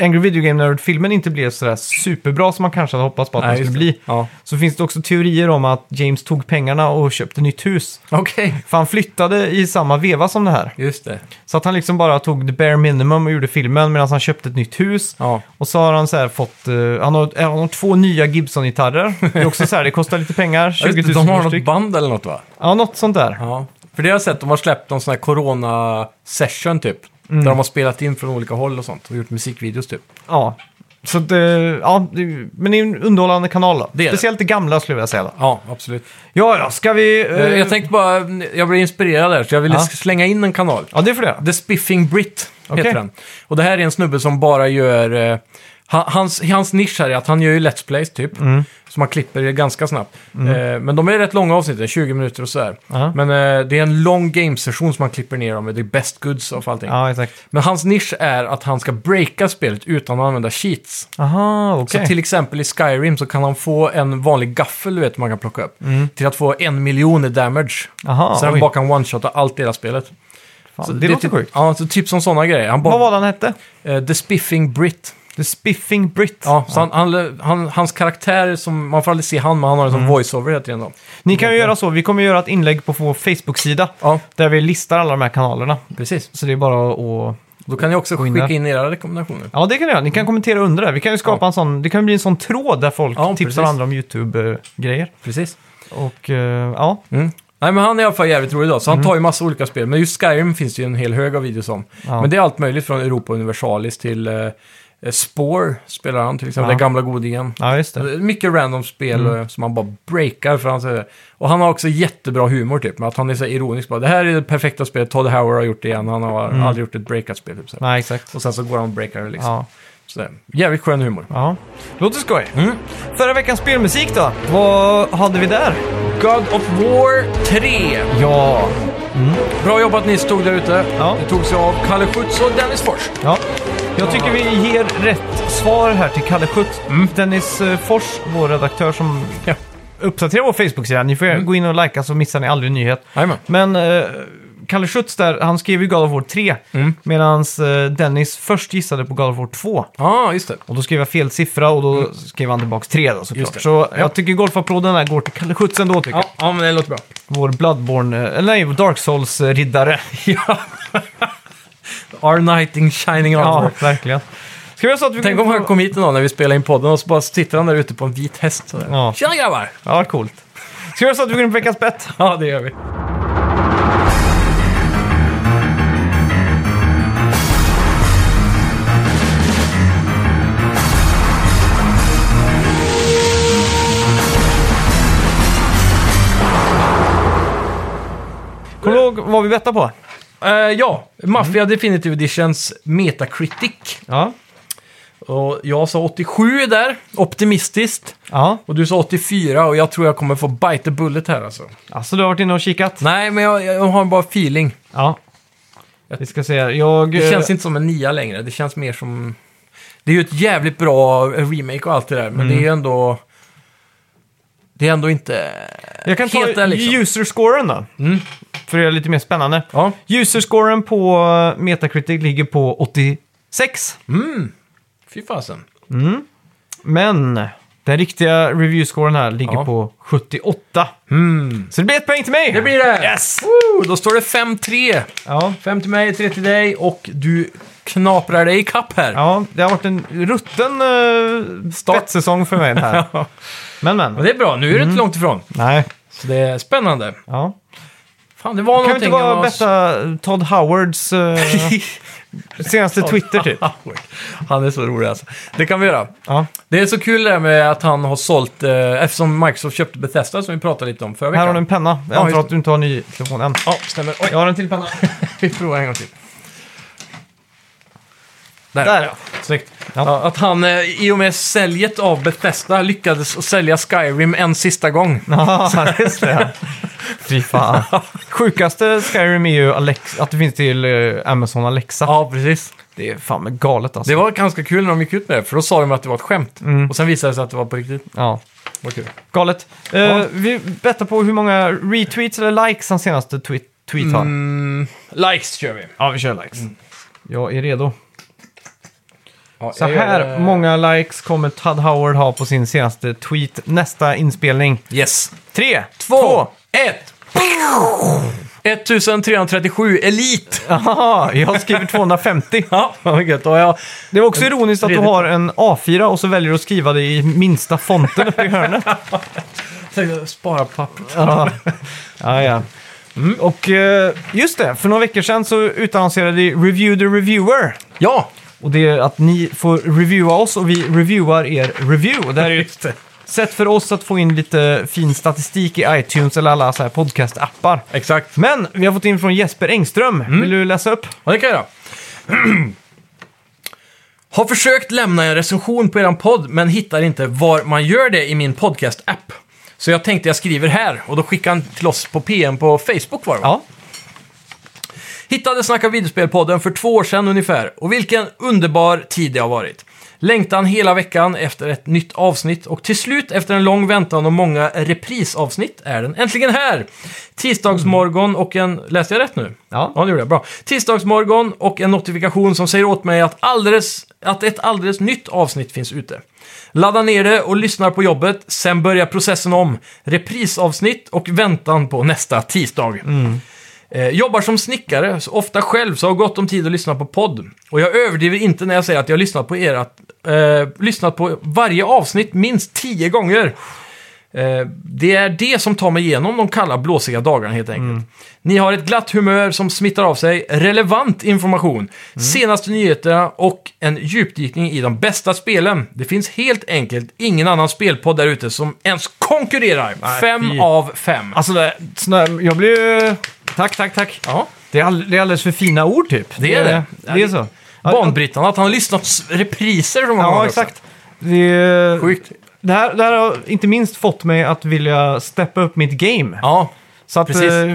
[SPEAKER 1] Angry Video Game Nerd-filmen inte blev sådär superbra som man kanske hade hoppats på att den
[SPEAKER 2] just
[SPEAKER 1] skulle
[SPEAKER 2] det.
[SPEAKER 1] bli.
[SPEAKER 2] Ja.
[SPEAKER 1] Så finns det också teorier om att James tog pengarna och köpte nytt hus.
[SPEAKER 2] Okej,
[SPEAKER 1] För han flyttade i samma veva som det här.
[SPEAKER 2] just det.
[SPEAKER 1] Så att han liksom bara tog the bare minimum och gjorde filmen medan han köpte ett nytt hus.
[SPEAKER 2] Ja.
[SPEAKER 1] Och så har han så här fått, eh, han, har, han har två nya Gibson-gitarrer. Det är också så här, det kostar lite pengar,
[SPEAKER 2] Ja,
[SPEAKER 1] 20
[SPEAKER 2] just
[SPEAKER 1] 000
[SPEAKER 2] det. De har
[SPEAKER 1] per
[SPEAKER 2] något
[SPEAKER 1] styck.
[SPEAKER 2] band eller något va?
[SPEAKER 1] Ja, något sånt där.
[SPEAKER 2] Ja. För det har jag sett, de har släppt någon sån här corona-session typ. Där de har spelat in från olika håll och sånt och gjort musikvideos typ.
[SPEAKER 1] Ja. Så det, ja, det, men det är en underhållande kanal då.
[SPEAKER 2] Det är det.
[SPEAKER 1] Speciellt det gamla skulle jag vilja säga då.
[SPEAKER 2] Ja, absolut.
[SPEAKER 1] Ja, ja, ska vi... eh,
[SPEAKER 2] Eh, Jag tänkte bara, jag blev inspirerad där så jag ville
[SPEAKER 1] Ja.
[SPEAKER 2] slänga in en kanal.
[SPEAKER 1] Ja, det får du göra.
[SPEAKER 2] The Spiffing Brit
[SPEAKER 1] Okej.
[SPEAKER 2] heter den. Och det här är en snubbe som bara gör eh, ha- Hans, hans nisch här är att han gör ju Let's Plays typ.
[SPEAKER 1] Mm.
[SPEAKER 2] Så man klipper det ganska snabbt. Eh, men de är rätt långa avsnitt, 20 minuter och sådär.
[SPEAKER 1] Ja.
[SPEAKER 2] Men eh, det är en lång gamesession som man klipper ner dem med. Det är best goods av allting.
[SPEAKER 1] Ja, exakt.
[SPEAKER 2] Men hans nisch är att han ska breaka spelet utan att använda cheats.
[SPEAKER 1] Aha,
[SPEAKER 2] Så
[SPEAKER 1] okej.
[SPEAKER 2] till exempel i Skyrim så kan han få en vanlig gaffel du vet man kan plocka upp.
[SPEAKER 1] Mm.
[SPEAKER 2] Till att få en miljon i damage.
[SPEAKER 1] Aha,
[SPEAKER 2] så han
[SPEAKER 1] oj.
[SPEAKER 2] bara kan one-shotta allt i hela spelet.
[SPEAKER 1] Fan,
[SPEAKER 2] Så
[SPEAKER 1] det,
[SPEAKER 2] är
[SPEAKER 1] låter
[SPEAKER 2] typ,
[SPEAKER 1] sjukt.
[SPEAKER 2] Ja, så typ som sådana grejer. Han
[SPEAKER 1] Vad
[SPEAKER 2] bara,
[SPEAKER 1] var det han hette?
[SPEAKER 2] eh, The Spiffing Brit.
[SPEAKER 1] The Spiffing Brit.
[SPEAKER 2] Ja, så Han, han, han, hans karaktär, som, man får aldrig se han, men han har en
[SPEAKER 1] Mm.
[SPEAKER 2] sån voice-over hela tiden. Då.
[SPEAKER 1] Ni kan ju göra så, vi kommer göra ett inlägg på vår Facebook-sida
[SPEAKER 2] Ja,
[SPEAKER 1] där vi listar alla de här kanalerna.
[SPEAKER 2] precis.
[SPEAKER 1] Så det är bara att...
[SPEAKER 2] Då kan ni också
[SPEAKER 1] Gå in
[SPEAKER 2] skicka
[SPEAKER 1] där.
[SPEAKER 2] in era rekommendationer.
[SPEAKER 1] Ja, det kan ni göra. Ni
[SPEAKER 2] Mm.
[SPEAKER 1] kan kommentera under det. Vi kan ju skapa en sån... Det kan bli en sån tråd där folk
[SPEAKER 2] Ja,
[SPEAKER 1] tipsar
[SPEAKER 2] precis.
[SPEAKER 1] andra om YouTube-grejer.
[SPEAKER 2] Precis.
[SPEAKER 1] Och eh, ja,
[SPEAKER 2] Mm. Nej, men han är i alla fall jävligt rolig idag, så
[SPEAKER 1] Mm.
[SPEAKER 2] han tar ju massa olika spel. Men just Skyrim finns det ju en hel hög av videos om.
[SPEAKER 1] Ja.
[SPEAKER 2] Men det är allt möjligt från Europa Universalis till eh, eh, Spore spelar han till exempel,
[SPEAKER 1] Ja.
[SPEAKER 2] den gamla godingen.
[SPEAKER 1] ja just det.
[SPEAKER 2] Det är Mycket random spel eh, som han bara breakar för han säger det. Och han har också jättebra humor typ, med att han är så här ironisk bara. Det här är det perfekta spelet, Todd Howard har gjort det igen, han har aldrig gjort ett breakat spel typ så här.
[SPEAKER 1] Nej, exakt.
[SPEAKER 2] Och sen så går han och breakar det liksom.
[SPEAKER 1] Ja.
[SPEAKER 2] Så där. jävligt skön humor.
[SPEAKER 1] ja. Låter skoj.
[SPEAKER 2] Mm.
[SPEAKER 1] Förra veckans spelmusik då? Vad hade vi där?
[SPEAKER 2] God of War 3.
[SPEAKER 1] Ja.
[SPEAKER 2] Mm. Bra jobbat ni som stod där ute.
[SPEAKER 1] Ja.
[SPEAKER 2] Det togs av Kalle Schütz och Dennis Fors.
[SPEAKER 1] ja. Jag tycker vi ger rätt svar här till Kalle Schütz. Dennis eh, Fors, vår redaktör som
[SPEAKER 2] Mm. Ja. Mm.
[SPEAKER 1] uppdaterar vår Facebook-sida. Ni får gå in och likea så missar ni aldrig en nyhet.
[SPEAKER 2] Jajamän.
[SPEAKER 1] Men eh, Kalle Schütz där, han skrev ju God of War 3.
[SPEAKER 2] Mm.
[SPEAKER 1] Medan eh, Dennis först gissade på God of War 2.
[SPEAKER 2] Ja, ah, just det.
[SPEAKER 1] Och då skrev jag fel siffra och då skrev han tillbaka 3 då
[SPEAKER 2] Mm. Just
[SPEAKER 1] såklart.
[SPEAKER 2] det.
[SPEAKER 1] Så jag tycker golfapplåden här går till Kalle Schütz ändå tycker
[SPEAKER 2] Ja, ja, men det låter bra.
[SPEAKER 1] jag. Vår Bloodborne, eh, eller nej, Dark Souls-riddare.
[SPEAKER 2] ja. Our nighting shining on.
[SPEAKER 1] Ja, verkligen. Ska vi göra så att vi
[SPEAKER 2] Tänk
[SPEAKER 1] går
[SPEAKER 2] om han
[SPEAKER 1] på-
[SPEAKER 2] kom hit en dag när vi spelade in podden och så bara sitter han där ute på en vit häst. Sådär.
[SPEAKER 1] Ja.
[SPEAKER 2] Tjena grabbar!
[SPEAKER 1] Ja, coolt. Ska vi göra så att vi går in på veckans bett?
[SPEAKER 2] Ja, det gör vi.
[SPEAKER 1] Kommer du ihåg vad vi bettade på?
[SPEAKER 2] Eh, ja, Mafia Definitive Editions Metacritic.
[SPEAKER 1] Ja.
[SPEAKER 2] Och jag sa 87 där, optimistiskt.
[SPEAKER 1] Ja,
[SPEAKER 2] Och du sa 84 och jag tror jag kommer få bite the bullet här alltså.
[SPEAKER 1] alltså du har varit inne och kikat?
[SPEAKER 2] Nej, men jag, jag har bara feeling.
[SPEAKER 1] Ja. Vi ska se här. Jag...
[SPEAKER 2] Det
[SPEAKER 1] eh,
[SPEAKER 2] känns inte som en nia längre. Det känns mer som... Det är ju ett jävligt bra remake och allt det där, men det är ju ändå... Det är ändå inte...
[SPEAKER 1] Jag kan ta
[SPEAKER 2] helt där, liksom. Mm.
[SPEAKER 1] user-scoren då. För att göra det lite mer spännande.
[SPEAKER 2] Ja.
[SPEAKER 1] User-scoren på eh, Metacritic ligger på 86.
[SPEAKER 2] Mm. Fy fasen.
[SPEAKER 1] Men den riktiga review-scoren här ligger
[SPEAKER 2] Ja.
[SPEAKER 1] på 78.
[SPEAKER 2] Mm.
[SPEAKER 1] Så det blir ett poäng till mig!
[SPEAKER 2] Det blir det!
[SPEAKER 1] Yes!
[SPEAKER 2] Woo! Då står det 5-3.
[SPEAKER 1] Ja.
[SPEAKER 2] 5 till mig, 3 till dig och du knaprar dig i kapp här.
[SPEAKER 1] ja, det har varit en rutten uh,
[SPEAKER 2] Start.
[SPEAKER 1] startsäsong för mig det här.
[SPEAKER 2] Ja.
[SPEAKER 1] Men,
[SPEAKER 2] Men
[SPEAKER 1] men.
[SPEAKER 2] det är bra, nu är du inte långt ifrån.
[SPEAKER 1] Nej.
[SPEAKER 2] Så det är spännande.
[SPEAKER 1] Ja.
[SPEAKER 2] Fan, det var
[SPEAKER 1] Kan vi inte
[SPEAKER 2] någonting... jag
[SPEAKER 1] bara
[SPEAKER 2] var-
[SPEAKER 1] betta Todd Howards eh, senaste Twitter typ?
[SPEAKER 2] Han är så rolig alltså. Det kan vi göra.
[SPEAKER 1] Ja.
[SPEAKER 2] Det är så kul det här med att han har sålt, eh, eftersom Microsoft köpte Bethesda som vi pratade lite om förra veckan.
[SPEAKER 1] Här har du en penna. Jag
[SPEAKER 2] Ja,
[SPEAKER 1] antar
[SPEAKER 2] just
[SPEAKER 1] att du inte har en ny telefon än.
[SPEAKER 2] Ja, stämmer. Oj,
[SPEAKER 1] Jag har en till penna.
[SPEAKER 2] vi provar en gång till. Där,
[SPEAKER 1] Där ja.
[SPEAKER 2] snyggt.
[SPEAKER 1] Ja.
[SPEAKER 2] Ja. att han eh, i och med säljet av Bethesda lyckades att sälja Skyrim en sista gång.
[SPEAKER 1] Ja, just det. Fy fan. Sjukaste Skyrim är ju Alex- att det finns till eh, Amazon Alexa.
[SPEAKER 2] Ja, precis.
[SPEAKER 1] Det är fan med galet alltså.
[SPEAKER 2] Det var ganska kul när de gick ut med det, för då sa de att det var ett skämt. Och sen visade det sig att det var på riktigt.
[SPEAKER 1] Ja,
[SPEAKER 2] Vad kul.
[SPEAKER 1] galet. Eh,
[SPEAKER 2] Ja.
[SPEAKER 1] Vi bettar på hur många retweets eller likes hans senaste tweet, tweet har.
[SPEAKER 2] Mm, likes kör vi.
[SPEAKER 1] Ja, vi kör likes. Jag är redo.
[SPEAKER 2] Mm. Ja,
[SPEAKER 1] Så
[SPEAKER 2] jag gör
[SPEAKER 1] här
[SPEAKER 2] det.
[SPEAKER 1] många likes kommer Todd Howard ha på sin senaste tweet nästa inspelning.
[SPEAKER 2] Yes.
[SPEAKER 1] Tre,
[SPEAKER 2] Två, ett. 1337 Elite.
[SPEAKER 1] Aha, jag skriver 250.
[SPEAKER 2] Ja, vad gött. Och jag,
[SPEAKER 1] Det var också ironiskt att du har en A4 och så väljer du att skriva det i minsta fonten uppe i hörnet.
[SPEAKER 2] tänkte spara pappret.
[SPEAKER 1] Ja, ja. ja. Och eh, just det, för några veckor sedan så utannonserade vi Review the Reviewer.
[SPEAKER 2] Ja,
[SPEAKER 1] Och det är att ni får reviewa oss och vi reviewar er review. Och Det här är ju ett
[SPEAKER 2] just det.
[SPEAKER 1] sätt för oss att få in lite fin statistik i iTunes eller alla så här podcast-appar.
[SPEAKER 2] Exakt.
[SPEAKER 1] Men vi har fått Mm. in från Jesper Engström. Vill du läsa upp?
[SPEAKER 2] Ja, det kan jag göra. Har försökt lämna en recension på eran podd, men hittar inte var man gör det i min podcast-app. Så jag tänkte jag skriver här, och då skickar han till oss på PM på Facebook var det va?
[SPEAKER 1] Ja.
[SPEAKER 2] Hittade Snacka videospelpodden för två år sedan ungefär och vilken underbar tid det har varit. Längtan hela veckan efter ett nytt avsnitt och till slut efter en lång väntan och många reprisavsnitt är den äntligen här! Tisdagsmorgon och en... Läste jag rätt nu?
[SPEAKER 1] Ja.
[SPEAKER 2] Ja, det gjorde jag. Bra. Tisdagsmorgon och en notifikation som säger åt mig att, alldeles, att ett alldeles nytt avsnitt finns ute. Laddar ner det och lyssnar på jobbet, sen börjar processen om. Reprisavsnitt och väntan på nästa tisdag. Eh, jobbar som snickare, så ofta själv, så har gott om tid att lyssna på podd. Och jag överdriver inte när jag säger att jag har lyssnat på, erat, eh, lyssnat på varje avsnitt minst tio gånger. Eh, det är det som tar mig igenom de kalla blåsiga dagarna helt enkelt. Ni har ett glatt humör som smittar av sig, relevant information, senaste nyheterna och en djupdykning i de bästa spelen. Det finns helt enkelt ingen annan spelpodd där ute som ens konkurrerar. fem
[SPEAKER 1] fy.
[SPEAKER 2] av fem.
[SPEAKER 1] Alltså, det- snö, jag blir ju... Tack, tack, tack.
[SPEAKER 2] Ja.
[SPEAKER 1] Det är, all, det är alldeles för fina ord typ.
[SPEAKER 2] Det är det.
[SPEAKER 1] Det, är så. Ja,
[SPEAKER 2] banbrytande att han har lyssnat s- repriser så många gånger
[SPEAKER 1] Ja,
[SPEAKER 2] också.
[SPEAKER 1] exakt. Det, är-
[SPEAKER 2] Sjukt.
[SPEAKER 1] det, här, det här har inte minst fått mig att vilja steppa upp mitt game.
[SPEAKER 2] Ja,
[SPEAKER 1] så att,
[SPEAKER 2] precis.
[SPEAKER 1] eh,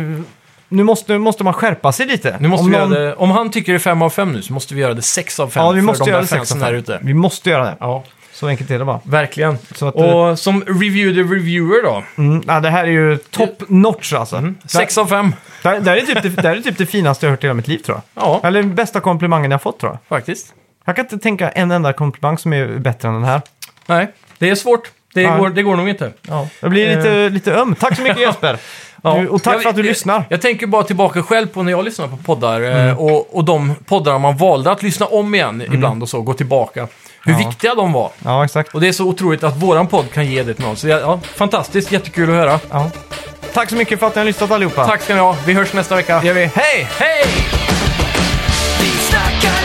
[SPEAKER 1] nu måste, måste man skärpa sig lite.
[SPEAKER 2] nu måste
[SPEAKER 1] Om
[SPEAKER 2] vi
[SPEAKER 1] någon-
[SPEAKER 2] göra det. Om han tycker det är 5 av 5 nu så måste vi göra det 6 av 5
[SPEAKER 1] Ja, vi måste
[SPEAKER 2] för de
[SPEAKER 1] göra
[SPEAKER 2] där
[SPEAKER 1] det sex
[SPEAKER 2] fansen
[SPEAKER 1] av
[SPEAKER 2] där
[SPEAKER 1] fem.
[SPEAKER 2] ute.
[SPEAKER 1] Vi måste göra det.
[SPEAKER 2] Ja,
[SPEAKER 1] Så enkelt är det bara.
[SPEAKER 2] verkligen.
[SPEAKER 1] Så att, eh,
[SPEAKER 2] Och som review the reviewer då.
[SPEAKER 1] Mm, ja, det här är ju top notch alltså.
[SPEAKER 2] Mm. sex av fem
[SPEAKER 1] Det, här- det, här är typ det, det här är typ det finaste jag har hört i hela mitt liv tror jag.
[SPEAKER 2] Ja,
[SPEAKER 1] Eller den bästa komplimangen jag har fått tror jag.
[SPEAKER 2] faktiskt.
[SPEAKER 1] Jag kan inte tänka en enda komplimang som är bättre än den här.
[SPEAKER 2] Nej, det är svårt. Det,
[SPEAKER 1] Ja.
[SPEAKER 2] går, det går nog inte.
[SPEAKER 1] Ja. Jag blir lite, lite öm. Tack så mycket Jesper!
[SPEAKER 2] Eh. Ja.
[SPEAKER 1] Du, och tack
[SPEAKER 2] Jag-
[SPEAKER 1] för att du
[SPEAKER 2] jag,
[SPEAKER 1] lyssnar. Mm.
[SPEAKER 2] Jag tänker bara tillbaka själv på när jag lyssnar på poddar eh, och, och de poddar man valde att lyssna om igen ibland och så, gå tillbaka. Hur
[SPEAKER 1] Ja.
[SPEAKER 2] viktiga de var.
[SPEAKER 1] Ja, exakt.
[SPEAKER 2] Och det är så otroligt att våran podd kan ge det till någon. Så ja, ja, fantastiskt, jättekul att höra.
[SPEAKER 1] Ja. Tack så mycket för att ni har lyssnat allihopa.
[SPEAKER 2] Tack ska ni ha. Vi hörs nästa vecka.
[SPEAKER 1] Det gör vi. Hej!
[SPEAKER 2] Hej!
[SPEAKER 3] Vi snackar